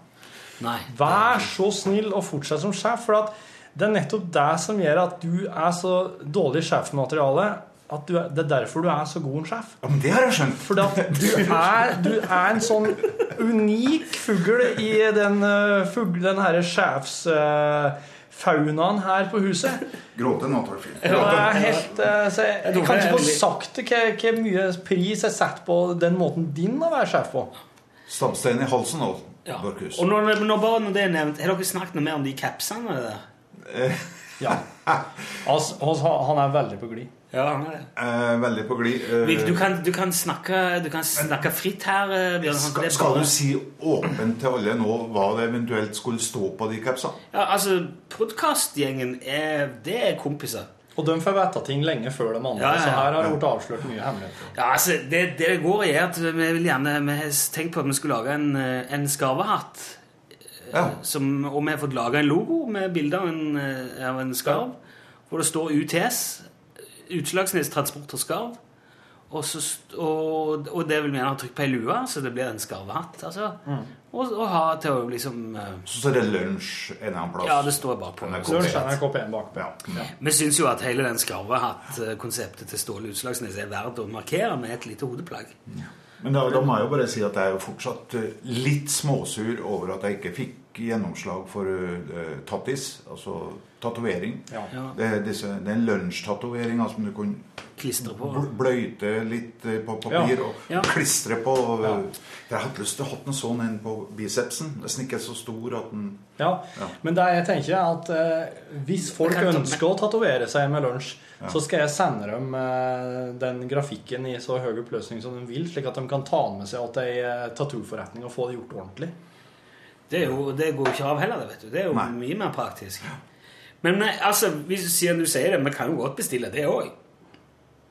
S2: Vær så snill og fortsett som sjef, for at det er nettopp det som gjør at du er så dårlig sjefmateriale. At du er, det er derfor du er så god en sjef.
S15: Ja, men det har jeg skjønt.
S2: Fordi at du er, du er en sånn unik fugl i den, eh, fugl- den herre sjefsfaunaen her på huset.
S15: Gråte nå, Torfinn.
S2: Ja, det er helt, eh, så jeg, jeg kan ikke få sagt det hva- hvor mye pris jeg setter på den måten din å være sjef på.
S15: Stabstein i halsen altså, nå, Borchhus.
S5: Og når, når, bare når det er nevnt, Har dere snakket noe mer om de capsene der?
S2: Ja. Altså, han er veldig på glid.
S5: Ja, han er det.
S15: Eh, veldig på glid. eh,
S5: Vi- Du kan, du kan, snakke, du kan snakke fritt her, eh, Bjørn. Johan, for
S15: skal,
S5: det er
S15: skal
S5: bare-
S15: du si åpent til alle nå hva det eventuelt skulle stå på de capsene?
S5: Ja, altså, podkastgjengen, det er kompiser.
S2: Og de får vite ting lenge før de andre.
S5: Ja, ja, ja.
S2: Så her har det blitt avslørt mye hemmeligheter.
S5: Ja, altså, det, det det går i er at vi vil gjerne Vi har tenkt på at vi skulle lage en, eh, en skarvehatt. eh, Som, og vi har fått laga en logo med bilde av, en, eh, av en skarv. Hvor det står UTS. Utslagsnes Transport og Skarv. Og, så, st- og, og det vil vi gjerne ha trykk på ei lue, så det blir en skarvehatt. Altså. Og, og ha til å liksom eh,
S15: Så er det lunsj en annen plass.
S5: Ja, det står bare på NRK.
S2: Lunsj NRK P1 bak.
S5: Vi syns jo at hele den skarvehatt-konseptet til Ståle Utslagsnes er verdt å markere med et lite hodeplagg.
S15: Men da, da må jeg jo bare si at jeg er jo fortsatt eh, litt småsur over at jeg ikke fikk gjennomslag for eh, tattis, altså tatovering.
S5: Ja. Ja.
S15: Det, er disse, det er en lunsjtatovering altså, som du kunne
S5: Klistre på.
S15: bl- bløyte litt eh, på papir
S5: Ja.
S15: og
S5: Ja.
S15: klistre på. eh, For jeg hadde lyst til å ha den sånn en på bicepsen. Nesten ikke så stor at den
S2: Ja. Men det jeg tenker er at eh, hvis folk
S15: Jeg kan ta med.
S2: ønsker å tatovere seg med lunsj,
S15: Ja.
S2: så skal jeg sende dem eh, den grafikken i så høy oppløsning som de vil, slik at de kan ta den med seg til ei eh, tattoo-forretning og få det gjort ordentlig.
S5: Det, er jo, det går ikke av heller, det, vet du. Det er jo mye mer praktisk. Men eh, altså, hvis du sier, du sier det, vi kan jo godt bestille det òg.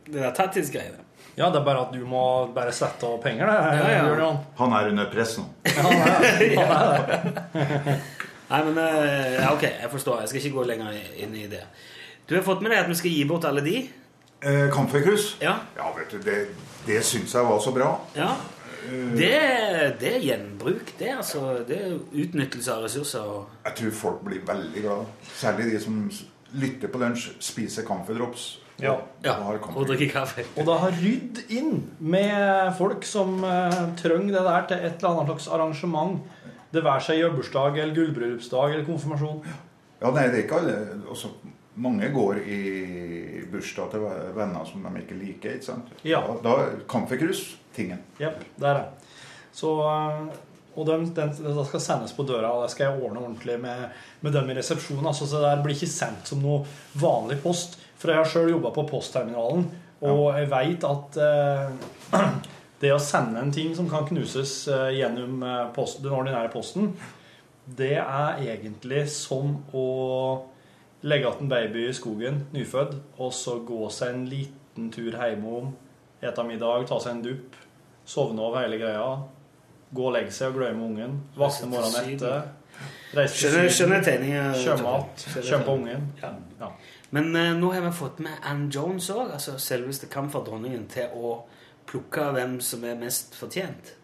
S5: Det der tattis-greiene.
S2: Ja, det er bare at du må bare sette av penger, det.
S5: Ja, ja.
S2: Bjørn Johan.
S15: Han er under press nå.
S5: Nei, men eh, ja, ok, jeg forstår. Jeg skal ikke gå lenger inn i det. Du har fått med deg at vi skal gi bort alle de?
S15: Eh, Kamferkrus?
S5: Ja.
S15: vet du, det, det syns jeg var så bra.
S5: Ja. Det, det er gjenbruk. Det er, altså, det er utnyttelse av ressurser. og-
S15: Jeg tror folk blir veldig glad. Særlig de som s- lytter på lunsj, spiser camphordrops og,
S2: Ja.
S15: og har
S5: Og
S15: camphor.
S5: drikke kaffe.
S2: Og da har rydd inn med folk som eh, trenger det der til et eller annet slags arrangement. Det være seg jobbursdag eller gullbryllupsdag eller konfirmasjon.
S15: Ja, nei, det er ikke alle. Også, mange går i bursdag til ve- venner som de ikke liker. ikke sant?
S2: Ja.
S15: Da, da er camphorkrus tingen.
S2: Jepp, der er den. Så, eh, og den, den, den skal sendes på døra, og det skal jeg ordne ordentlig med, med dem i resepsjonen. Altså, så det der blir ikke sendt som noe vanlig post. For jeg har sjøl jobba på postterminalen, og jeg veit at eh, det å sende en ting som kan knuses eh, gjennom eh, post, den ordinære posten, det er egentlig som å legge igjen en baby i skogen, nyfødt, og så gå seg en liten tur hjemom, ete middag, ta seg en dupp, sovne over hele greia, gå og legge seg og glemme ungen,
S5: Reise
S2: våkne
S5: til
S2: morgenen
S5: Syden.
S2: etter,
S5: Skjønner- skjønner tegningen.
S2: sjømat,
S5: Skjønner
S2: kjøpe på
S5: tegningen.
S2: ungen.
S5: Men eh, nå har vi fått med Ann Jones òg, altså selveste kamferdronningen, til å plukke hvem som er mest fortjent.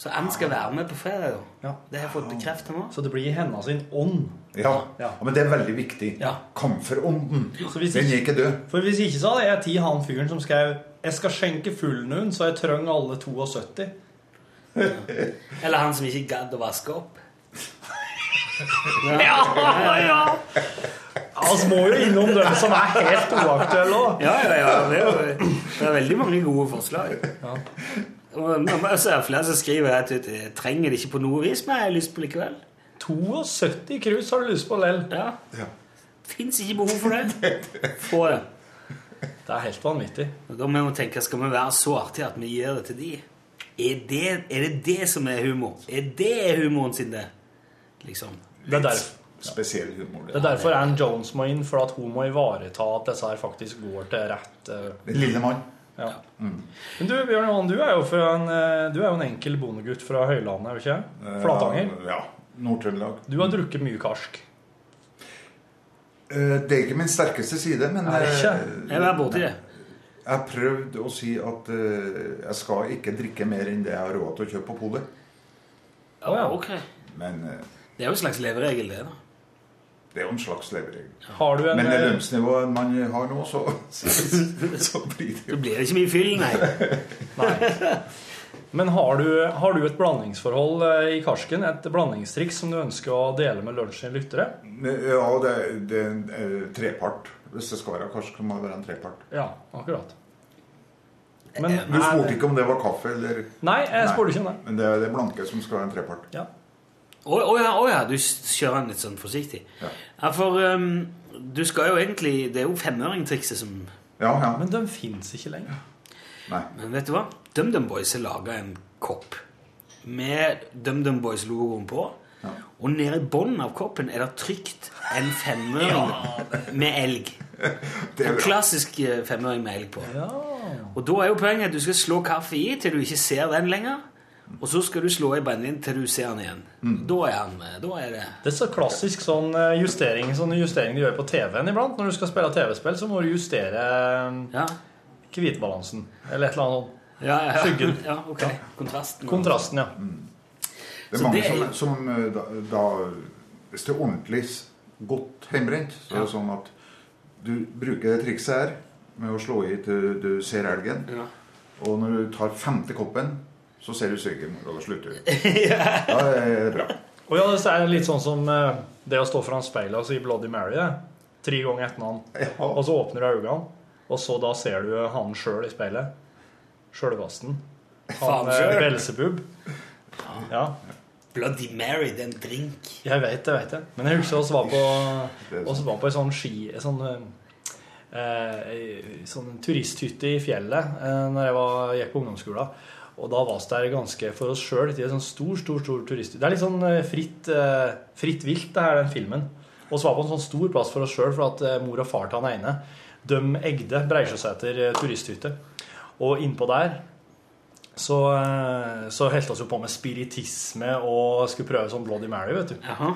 S5: Så Ann skal være med på fredag. da. Det har jeg fått bekreftet nå.
S2: Så det blir i henne sin ånd.
S15: Ja. ja, men det er veldig viktig. Kamferånden. Den er ikke død.
S2: For hvis ikke så hadde jeg ti han fyren som skrev Jeg skal skjenke fullen hun, så jeg trenger alle 72.
S5: Eller han som ikke gadd å vaske opp.
S2: Ja, ja. Vi må jo innom dem som er helt uaktuelle òg.
S5: Ja, ja, ja. Det er, jo, det er veldig mange gode forslag. Og nå må jeg se flere som skriver rett ut Jeg trenger det ikke på noe vis, men jeg har lyst på likevel.
S2: 72 krus har du lyst på lell.
S5: Ja. Fins ikke behov for det. Få det.
S2: Det er helt vanvittig.
S5: Da må vi tenke, Skal vi være så artige at vi gir det til de? Er det, er det det som er humor? Er det humoren sin, det? Liksom.
S2: Det er derfor,
S15: Spesiell humor.
S2: det er derfor Ann Jones må inn, for at hun må ivareta at disse her faktisk går til rett eh,
S15: Den lille mann.
S2: Ja. Mm. Men du, Bjørn Johan, du er jo, fra en, eh, du er jo en enkel bondegutt fra Høylandet, er du ikke?
S15: Eh,
S2: Flatanger.
S15: Ja. Nord-Trøndelag.
S2: Du har drukket mye karsk.
S15: Eh, Det er ikke min sterkeste side, men
S2: Er det ikke?
S15: eh,
S2: Jeg var borti det.
S15: Jeg prøvde å si at eh, jeg skal ikke drikke mer enn det jeg har råd til å kjøpe på polet.
S5: Å ja, ok.
S15: Men eh,
S5: Det er jo en slags leveregel, det. da.
S15: det er jo en slags leveregel.
S2: Har du en,
S15: men det
S2: eh,
S15: lønnsnivået man har nå, så, så, så blir det
S5: jo blir det ikke mye fyll, nei.
S2: Men har du, har du et blandingsforhold eh, i karsken? Et blandingstriks som du ønsker å dele med lunsjen lyttere?
S15: eh, Ja, det, det er en eh, trepart. Hvis det skal være karsk, så må det være en trepart.
S2: Ja, akkurat.
S15: du spurte ikke om det var kaffe eller
S2: Nei, jeg spurte ikke om det.
S15: Men det er det blanke som skal være en trepart.
S2: Ja.
S5: Å å ja, å ja, du s- kjører den litt sånn forsiktig. Ja, for ehm, du skal jo egentlig Det er jo femøringtrikset som
S15: Ja,
S2: Men de fins ikke lenger.
S5: Men vet du hva? DumDum Boys har laga en kopp med DumDum Boys-logoen på. Og nede i bunnen av koppen er det trykt en femøring med elg. En klassisk eh, femøring med elg på. Og da er jo poenget at du skal slå kaffe i til du ikke ser den lenger. Og så skal du slå i brennevin til du ser den igjen. Da er han eh, Da er det
S2: Det er så klassisk sånn eh, justering, sånn justering de gjør på TV-en iblant. Når du skal spille TV-spill, så må du justere eh, Hvitbalansen. Eller et eller annet.
S5: Ja, ja, ja.
S2: Skyggen.
S5: Ja, ok. Kontrasten.
S2: Kontrasten, ja.
S15: Det er
S2: Så
S15: mange
S2: det er-
S15: som, som eh, da, da Hvis det er ordentlig s- godt hjemmebrent, så er det sånn at du bruker det trikset her med å slå i til du ser elgen. Og når du tar femte koppen, så ser du siggen, og da slutter du. Da er det bra.
S2: Og ja, det er litt sånn som eh, det å stå foran speilet og si Bloody Mary det. tre ganger etter han. Og så åpner du øynene, og så da ser du han sjøl i speilet. Sjølvasten.
S5: Faen
S2: Han eh,
S5: selv.
S2: Belsebub. Ja.
S5: Bloody Mary, det er en drink.
S2: Jeg veit det, veit jeg. Men jeg husker oss var på oss var på ei sånn ski en sånn, eh, eh, sånn turisthytte i fjellet eh, Når jeg var, gikk på ungdomsskolen. Og da var vi der ganske for oss sjøl. Det er sånn stor, stor, stor turisthytte. Det er litt sånn eh, fritt, eh, fritt vilt, det her, den filmen. Og så var vi på en sånn stor plass for oss sjøl, for at eh, mor og far til han ene de egde Breisjøsæter eh, turisthytte. Og innpå der så, eh, så heldte oss jo på med spiritisme og skulle prøve sånn Bloody Mary, vet du.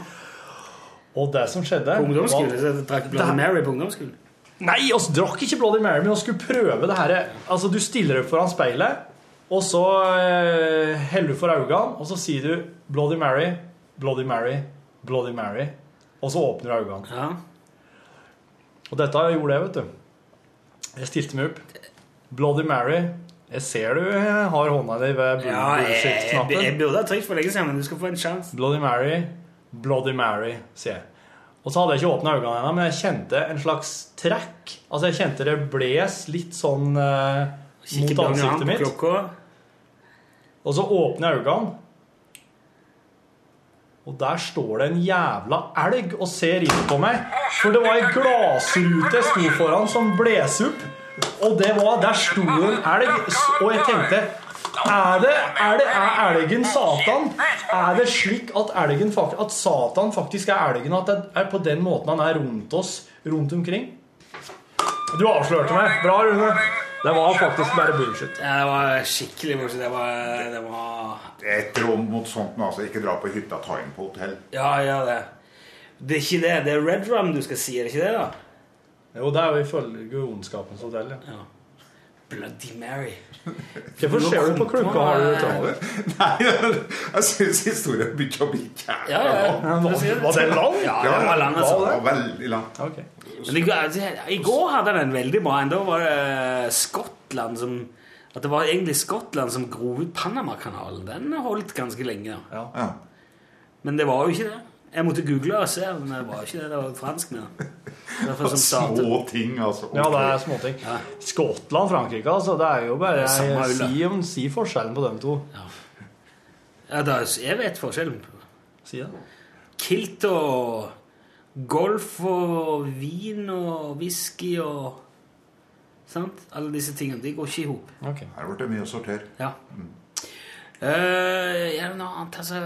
S2: Og det som skjedde
S5: På ungdomsskole,
S2: var-
S5: så drakk
S2: Det-
S5: Bloody Mary på ungdomsskolen.
S2: Nei, oss drakk ikke Bloody Mary, men vi skulle prøve det her. Altså, du stiller deg foran speilet, og så eh, heller du for øynene, og så sier du Bloody Mary, Bloody Mary, Bloody Mary, og så åpner du øynene. Og dette gjorde jeg, vet du. Jeg stilte meg opp. Bloody Mary. Jeg ser du eh, har hånda di ved bull-
S5: Ja, jeg, jeg,
S2: bullshit-knappen.
S5: jeg burde ha trykt for lenge siden, men du skal få en sjanse.
S2: Bloody Mary, Bloody Mary, sier jeg. Og så hadde jeg ikke åpna øynene ennå, men jeg kjente en slags trekk. Altså jeg kjente det bles litt sånn eh,
S5: Kikker
S2: mot
S5: Bloody Hand
S2: ansiktet
S5: på
S2: mitt.
S5: klokka.
S2: Og så åpner jeg øynene, og der står det en jævla elg og ser inn på meg. For det var ei glassrute jeg sto foran, som bles opp. Og det var, der sto en elg, s- og jeg tenkte er det, er det er elgen Satan? Er det slik at, elgen, fak- at Satan faktisk er elgen? At det er på den måten han er rundt oss rundt omkring? Du avslørte meg. Bra, Rune. Det var faktisk bare bullshit.
S5: Ja, det var skikkelig morsomt. Det var, det var
S15: Det er et råd mot sånt, men altså, ikke dra på hytta, ta inn på hotell.
S5: Ja, gjør det. Det er ikke det. Det er Red Rum du skal si, er det ikke det, da?
S2: Jo, det er jo ifølge Ondskapens hotell,
S5: ja. Bloody Mary.
S2: Hvorfor
S5: Nå
S2: ser du på
S5: kom
S2: klokka?
S5: på-
S2: Har du det travelt?
S15: Nei, jeg syns historien begynner å bli jævla
S5: Ja, ja, ja.
S15: lang.
S5: Du sier det. Var den lang? Ja, den var lang, altså.
S15: den var veldig lang.
S5: Men i går, altså, I går hadde den en veldig bra en. Da var det Skottland som At det var egentlig Skottland som grov ut Panamakanalen. Den holdt ganske lenge. da.
S15: Ja.
S5: Men det var jo ikke det. Jeg måtte google og se, men det var jo ikke det. Det var franskmenn. Derfor som startet.
S15: Små ting, altså.
S2: Ja, det er småting. Skottland, Frankrike, altså. Det er jo bare
S5: Samme
S2: jeg,
S5: ulla.
S2: si, om, si forskjellen på dem to.
S5: Ja, da, jeg vet forskjellen.
S2: Si det.
S5: Kilt og golf og vin og whisky og Sant? Alle disse tingene. De går ikke i hop.
S15: Her ble det mye å sortere.
S5: Ja. Eh, ja, noe annet, altså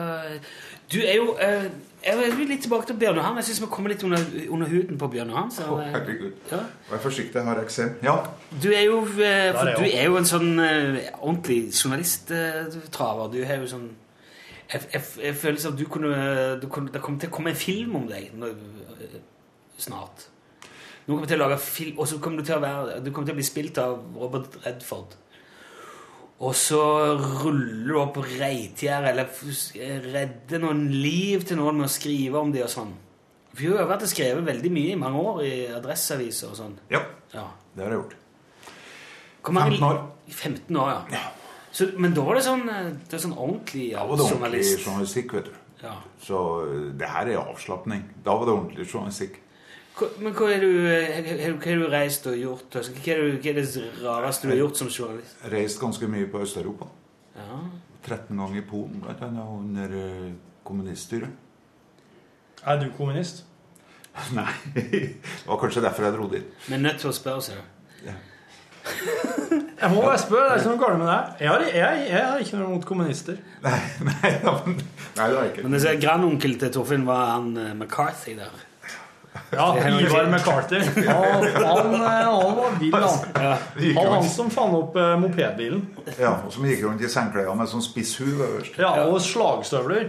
S5: Du er jo eh, Jeg vil litt tilbake til Bjørn Johan. Jeg syns vi kommer litt under, under huden på Bjørn Johan. Så,
S15: Å,
S5: eh,
S15: herregud. Vær forsiktig, jeg har eksem. Ja.
S5: du er jo eh,
S15: Der er
S5: For du
S15: jeg
S5: er jo en sånn eh, ordentlig journalisttraver. Du er jo sånn jeg, jeg, jeg føler som du kunne, du kunne Det kommer til å komme en film om deg nå, eh, snart. Nå kommer jeg til å lage film Og så kommer du til å være Du kommer til å bli spilt av Robert Redford. Og så ruller du opp reitgjær eller f- redder noen liv til noen med å skrive om det og sånn. For du har jo vært og skrevet veldig mye i mange år i Adresseaviser og sånn.
S15: Ja.
S5: Ja.
S15: Det har jeg gjort.
S5: Hvor mange-
S15: 15 år.
S5: 15 år, ja. Så, men da var det sånn, eh, det er sånn ordentlig sånn. ja,
S15: Da var det ordentlig
S5: journalist.
S15: journalistikk, vet du.
S5: Ja.
S15: Så eh, det her er avslapning. Da var det ordentlig journalistikk.
S5: Hva- Men hva er du, eh, hva hva har du reist og gjort? Altså, hva, er du, hva er det rareste du har gjort som journalist?
S15: Reist ganske mye på Øst-Europa.
S5: Ja.
S15: 13 ganger i Polen, blant annet under eh, kommuniststyret.
S2: Er du kommunist?
S15: Nei. Det var kanskje derfor jeg dro dit.
S5: Men nødt til å spørre, ser du.
S2: Jeg må bare spørre, det er ikke noe galt med det. Jeg har, jeg, jeg har ikke noe mot kommunister.
S15: Nei, det har jeg ikke.
S5: Men jeg ser grandonkel til Torfinn var han eh, McCarthy der.
S2: Ja, Ivar McCarthy. Han, han, eh, han var vill, han.
S15: Det gikk
S2: Han
S15: jo
S2: han
S15: ikke.
S2: som fant opp eh, mopedbilen.
S15: Ja, og Som gikk rundt i sengklærne med sånn spiss hue øverst.
S2: Ja, Og slagstøvler.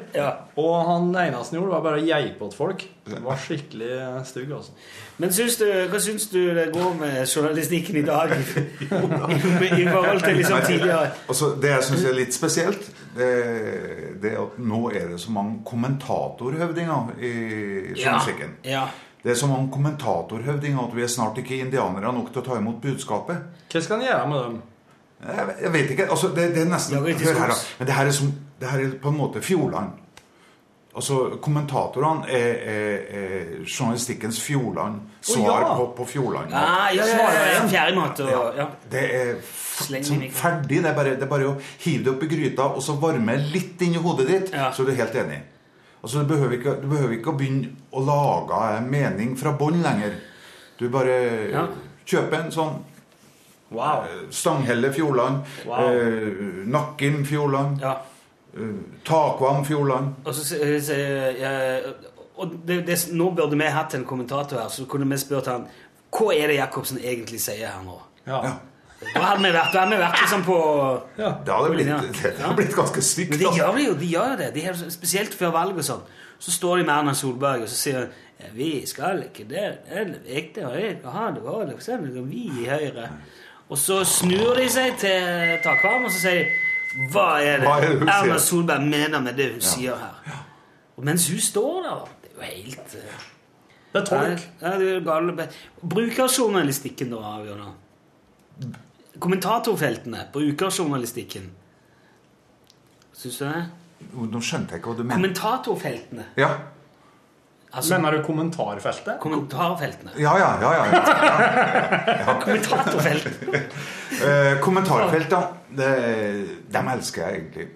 S2: Og han eneste han gjorde, var bare å geipe åt folk. Den var skikkelig stygg, altså.
S5: Men syns du, hva syns du det går med journalistikken i dag? I forhold til liksom tidligere?
S15: Altså, det jeg syns er litt spesielt, det, det er at nå er det så mange kommentatorhøvdinger i journalistikken.
S5: Ja.
S15: Det er så mange kommentatorhøvdinger at vi er snart ikke indianere nok til å ta imot budskapet.
S2: Hva skal en gjøre med dem?
S15: Jeg, jeg vet ikke. altså Det, det er nesten
S2: Lager et
S15: Hør her, da.
S2: diskurs.
S15: Men det her er, som, det her er på en måte Fjordland. Altså, Kommentatorene er, er, er journalistikkens Fjordland. Svar
S5: ja.
S15: på, på Fjordland.
S5: Ah, ja, ja, ja, ja, Fjærmat og ja.
S15: Det er
S5: Sleng
S15: sånn
S5: i mikrofonen.
S15: ferdig. Det er, bare, det er bare å hive det opp i gryta og så varme litt inn i hodet ditt, så er du helt enig. Altså, du, behøver ikke, du behøver ikke å begynne å lage en mening fra bånn lenger. Du bare kjøper en sånn eh,
S2: wow.
S15: Stanghelle Fjordland,
S5: Wow.
S15: eh, Nakkim Fjordland, eh, Takvam Fjordland
S5: Og så sier- sier jeg- eh, og det, det, Nå burde vi hatt en kommentator her, så kunne vi spurt han Hva er det Jacobsen egentlig sier her nå?
S2: Ja.
S5: Da hadde vi vært, da hadde vi vært liksom på
S15: Det hadde
S5: på
S15: blitt,
S5: linja.
S15: det hadde blitt ganske altså. stygt.
S5: Men de gjør det jo, de gjør jo det. De har, spesielt før valget og sånn. Så står de med Erna Solberg og så sier hun, «Ja, Vi skal ikke det. eller Ekte Høyre. Ha det bra. liksom. Vi i Høyre. Og så snur de seg til Takvam og så sier de Hva er
S9: Hva er
S5: det
S9: det hun sier?»
S5: Erna Solberg mener med det hun sier her? Og mens hun står der, det er jo helt eh,
S2: Det er tolk.
S5: Ja, det er jo gale. Brukerjournalistikken, da, Bjørnar. Kommentatorfeltene. Brukerjournalistikken. Syns du det?
S15: Nå skjønte jeg ikke hva du mener.
S5: Kommentatorfeltene.
S15: Ja.
S5: Altså-
S2: Mener du kommentarfeltet?
S5: Kommentarfeltene.
S15: Ja, ja, ja, ja, ja.
S5: Kommentatorfelt.
S15: Eh, kommentarfelt, da. Det, dem elsker jeg egentlig.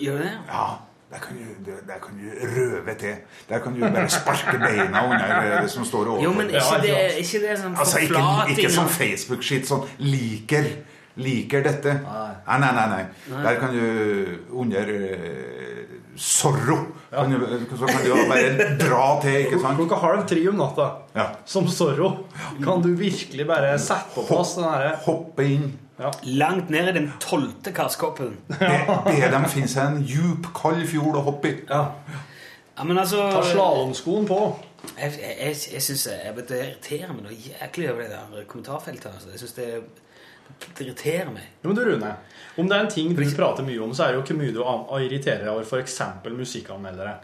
S5: Gjør du det?
S15: Ja. Der kan, du, det- der kan du røve til. Der kan du bare sparke beina under eh, det som står overfor.
S5: Jo, men ikke det, ikke det sånn
S15: Altså, ikke,
S5: forflating
S15: ikke sånn
S5: av-
S15: Facebook-skitt. Sånn 'liker'. Liker dette. Ah, Nei, nei, nei. nei.
S5: Nei.
S15: Der kan du under eh, sorro kan du, eh, Så kan du bare dra til, ikke sant?
S2: Klokka halv tre om natta,
S15: Ja.
S2: som Zorro, kan du virkelig bare sette på plass den derre
S15: Hoppe inn.
S5: Langt ned i den tolvte karskoppen.
S15: Det de finner seg en djup, kald fjord å hoppe i.
S5: Ja, men altså
S2: Ta slalåmskoen på.
S5: Jeg, jeg, jeg, jeg synes jeg, jeg, det irriterer meg noe jæklig over det der kommentarfeltet. Altså. Jeg synes det, det irriterer meg.
S2: Jo, men du, Rune, om det er en ting du prater mye om, så er det jo ikke mye du an- irriterer deg over f.eks. musikkanmeldere.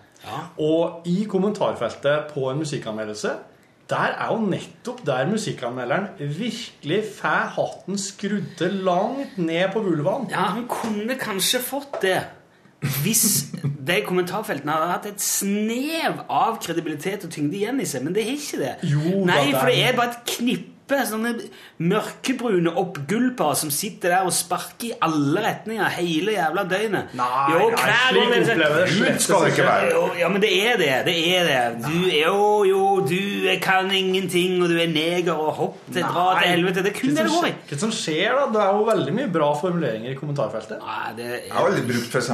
S2: Og i kommentarfeltet på en musikkanmeldelse, der er jo nettopp der musikkanmelderen virkelig får hatten skrudd til langt ned på vulvaen.
S5: Ja, han kunne kanskje fått det hvis de kommentarfeltene hadde hatt et snev av kredibilitet og tyngde igjen i seg, men det har ikke det.
S2: Jo,
S5: Nei,
S2: da,
S5: for det
S2: det er-
S5: er bare et knippe sånne mørkebrune oppgulpere som sitter der og sparker i alle retninger hele jævla døgnet. Jo,
S2: nei,
S5: hver
S2: slik
S5: gang det-
S2: opplever jeg det
S5: Gud,
S2: slett
S5: skal det ikke
S2: ikke.
S5: være. Ja, men det er det. Det er det. Du, jo, jo, du kan ingenting, og du er neger, og hopp til dra til helvete. Det er kun
S2: Hva
S5: det det
S2: som
S5: går i.
S2: skje- Hva som skjer, da? Det er jo veldig mye bra formuleringer i kommentarfeltet.
S5: Nei, det
S15: Jeg har aldri brukt f.eks.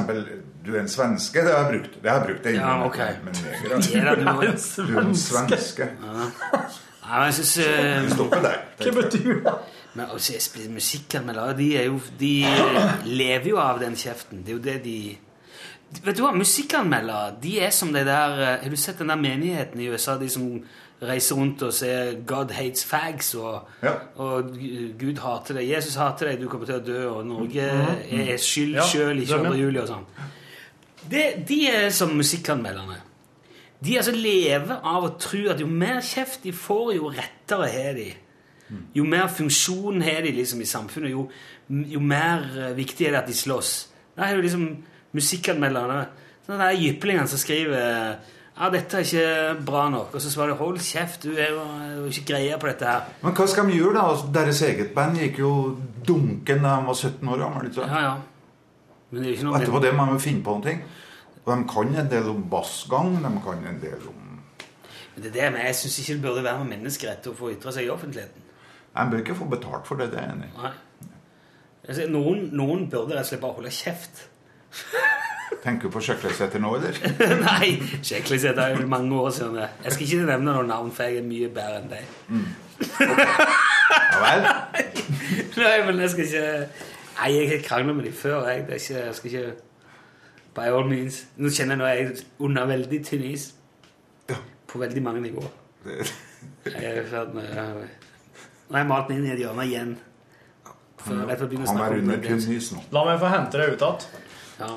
S15: 'du er en svenske'. Det har jeg brukt. Det har jeg brukt det
S5: Ja, ok.
S15: Men
S5: Du er en
S15: neger, altså. du er en svenske.
S5: Nei, men jeg synes eh,
S15: Vi stopper der.
S2: Hva betyr det?
S5: Men altså, jeg spiller musikkanmeldere, de, er jo, de lever jo av den kjeften. Det er jo det de Vet du hva, musikkanmeldere de er som de der eh, Har du sett den der menigheten i USA, de som reiser rundt og ser 'God hates fags' og, og G- 'Gud hater deg', 'Jesus hater deg', 'Du kommer til å dø', og 'Norge
S2: Mhm.
S5: er skyld
S2: Ja,
S5: sjøl i
S2: dem, ja.
S5: 22. juli' og sånn. Det, de er som musikkanmelderne. De altså lever av å tro at jo mer kjeft de får, jo rettere har de. Jo mer funksjon har de liksom i samfunnet, jo, jo mer eh, viktig er det at de slåss. Da har du liksom musikkanmelderne. Sånn der jyplingene som skriver eh, ja, dette er ikke bra nok. Og så svarer de hold kjeft, du er jo er jo ikke greie på dette her.
S15: Men hva skal de gjøre, da? Altså, Deres eget band gikk jo dunken da de var 17 år gamle. ikke sant?
S5: Ja, ja. Men det er jo ikke
S15: Og
S5: noe
S15: etterpå det må de jo finne på noen ting. Og de kan en del om bassgang. De kan en del om
S5: Men det er det, men jeg syns ikke det burde være noen menneskerett å få ytre seg i offentligheten.
S15: De bør ikke få betalt for det, det er jeg enig i.
S5: Nei. Altså, noen, noen burde rett og slett bare holde kjeft.
S15: Tenker du på Sjekkløsheter nå, eller?
S5: Nei, skikkelig sett, det er jo mange år siden det. Jeg skal ikke nevne noen navn, for jeg er mye bedre enn deg.
S15: Ja vel?
S5: Nei, men jeg skal ikke... Nei, jeg har kranglet med dem før, jeg. Det er ikke, jeg skal ikke... By all means. Nå kjenner jeg nå er jeg under veldig tynn is. på veldig mange nivåer. Jeg er i ferd med Nå har jeg malt meg inn i et hjørne igjen. Før- rett før jeg begynner å
S15: Han
S5: snakke
S15: er
S5: om
S15: under
S5: Breakdance.
S15: kunnisen nå.
S2: La meg få hente deg ut igjen.
S5: Ja.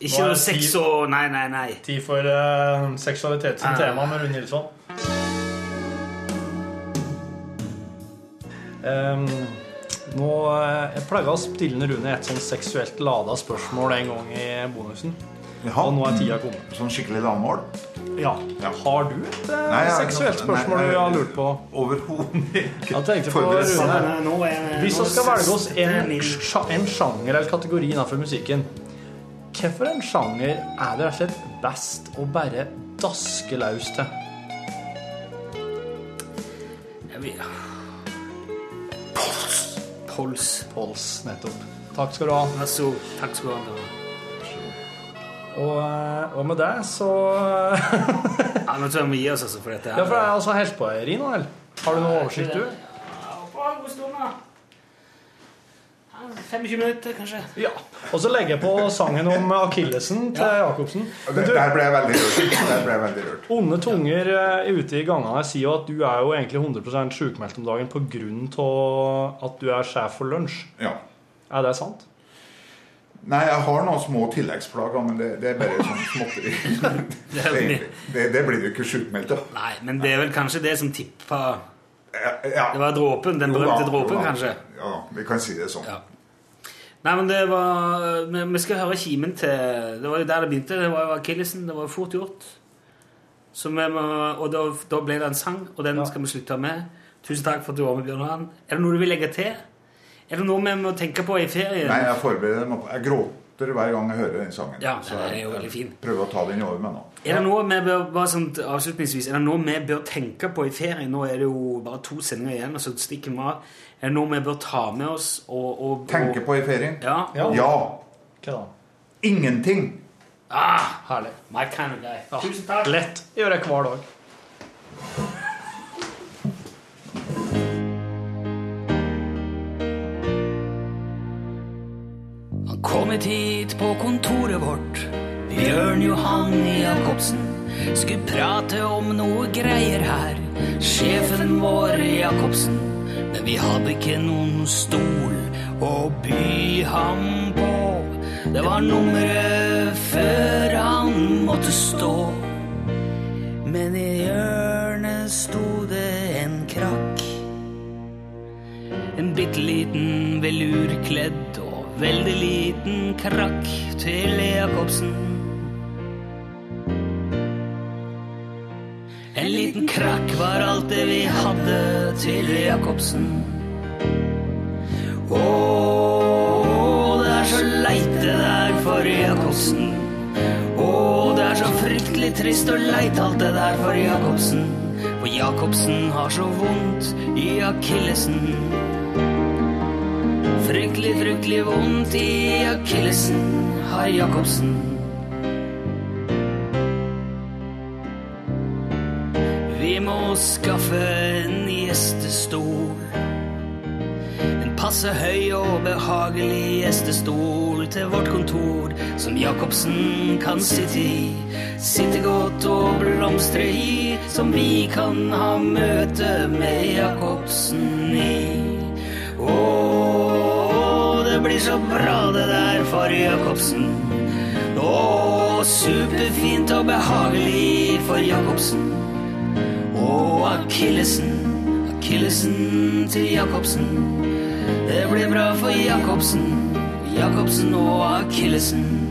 S5: Ikke noe sex og Nei, nei, nei.
S2: Tid for uh, seksualitet som
S5: Ah.
S2: tema med Rune Nilsson. Ehm, nå eh, Jeg pleier å stille Rune et sånn seksuelt lada spørsmål en gang i bonusen. Og nå er tida kommet.
S15: Sånn skikkelig lavmål?
S2: Ja. Har du et eh,
S15: Nei, jeg-
S2: seksuelt spørsmål
S15: nei, nei,
S2: du har lurt på?
S15: Overhodet ikke.
S2: Jeg tenkte på
S15: Forberedt.
S2: Rune.
S5: Sånn,
S2: Hvis
S5: nå
S2: vi skal velge oss
S5: setter jeg
S2: en, sja- en sjanger eller kategori innenfor musikken, hvorfor en sjanger er det rett og slett best å bare daske løs til?
S5: Jeg vil-
S2: Pols. Pols, nettopp. Takk skal du ha.
S5: Vær så god. Takk skal du ha.
S2: Og, eh, og med det så
S5: Ja, nå tror jeg vi må gi oss, altså, for dette
S2: Ja, for det er altså helt på Eirin nå, eller? Har du noe oversikt, du?
S5: Ja, 25 minutter, kanskje.
S2: Ja. Og så legger jeg på sangen om akillesen til Jacobsen. Men du,
S15: Der ble jeg veldig rørt. Der ble jeg veldig rørt.
S2: onde tunger eh, ute i gangene sier jo at du er jo egentlig 100 sjukmeldt om dagen pga. at du er sjef for lunsj.
S15: Ja.
S2: Er det sant?
S15: Nei, jeg har noen små tilleggsplager, men det, det er bare sånn småtteri. Egentlig. det, det blir du ikke sjukmeldt av.
S5: Nei, men det er vel kanskje det som tippa
S15: Det
S5: var dråpen, den
S15: Jo da,
S5: berømte
S15: jo
S5: dråpen,
S15: da.
S5: kanskje.
S15: Ja, vi kan si det sånn.
S5: Nei, men det var Vi vi skal høre kimen til Det var jo der det begynte. Det var jo akillesen. Det var jo fort gjort. Så vi må, og da, da ble det en sang, og den skal vi slutte med. Tusen takk for at du var med, Bjørn Johan. Er det noe du vil legge til? Er det noe vi må tenke på i ferien?
S15: Nei, jeg forbereder meg på Jeg gråter hver gang jeg hører den sangen.
S5: Ja,
S15: Så
S5: den er
S15: jeg-
S5: jo
S15: jeg
S5: veldig fin.
S15: Prøver å ta den over meg nå.
S5: Er det noe vi bør, bare sånn avslutningsvis, er det noe vi bør tenke på i ferien? Nå er det jo bare to sendinger igjen, og så stikker vi av. Er det noe vi bør ta med oss og, og, og
S15: Tenke på i ferien?
S5: Ja.
S15: Ja.
S2: Hva da?
S15: Ingenting.
S5: Ah,
S2: Herlig.
S5: my kind of guy. Tusen takk.
S2: Lett. Jeg gjør det hver dag.
S16: Han kommet hit på kontoret vårt. Bjørn Johan Jacobsen skulle prate om noe greier her. Sjefen vår Jacobsen. Men vi hadde ikke noen stol å by ham på. Det var nummeret før han måtte stå. Men i hjørnet sto det en krakk. En bitte liten velurkledd og veldig liten krakk til Jacobsen. En liten krakk var alt det vi hadde til Jacobsen. Å, det er så leit det der for Jacobsen. Å, det er så fryktelig trist og leit alt det der for Jacobsen. For Jacobsen har så vondt i akillesen. Fryktelig, fryktelig vondt i akillesen har Jacobsen. Vi må skaffe en gjestestol. En passe høy og behagelig gjestestol til vårt kontor, som Jacobsen kan sitte i. Sitte godt og blomstre i, som vi kan ha møte med Jacobsen i. Åh, det blir så bra det der for Jacobsen. Åh, superfint og behagelig for Jacobsen. Og akillesen, akillesen til Jacobsen. Det blir bra for Jacobsen, Jacobsen og akillesen.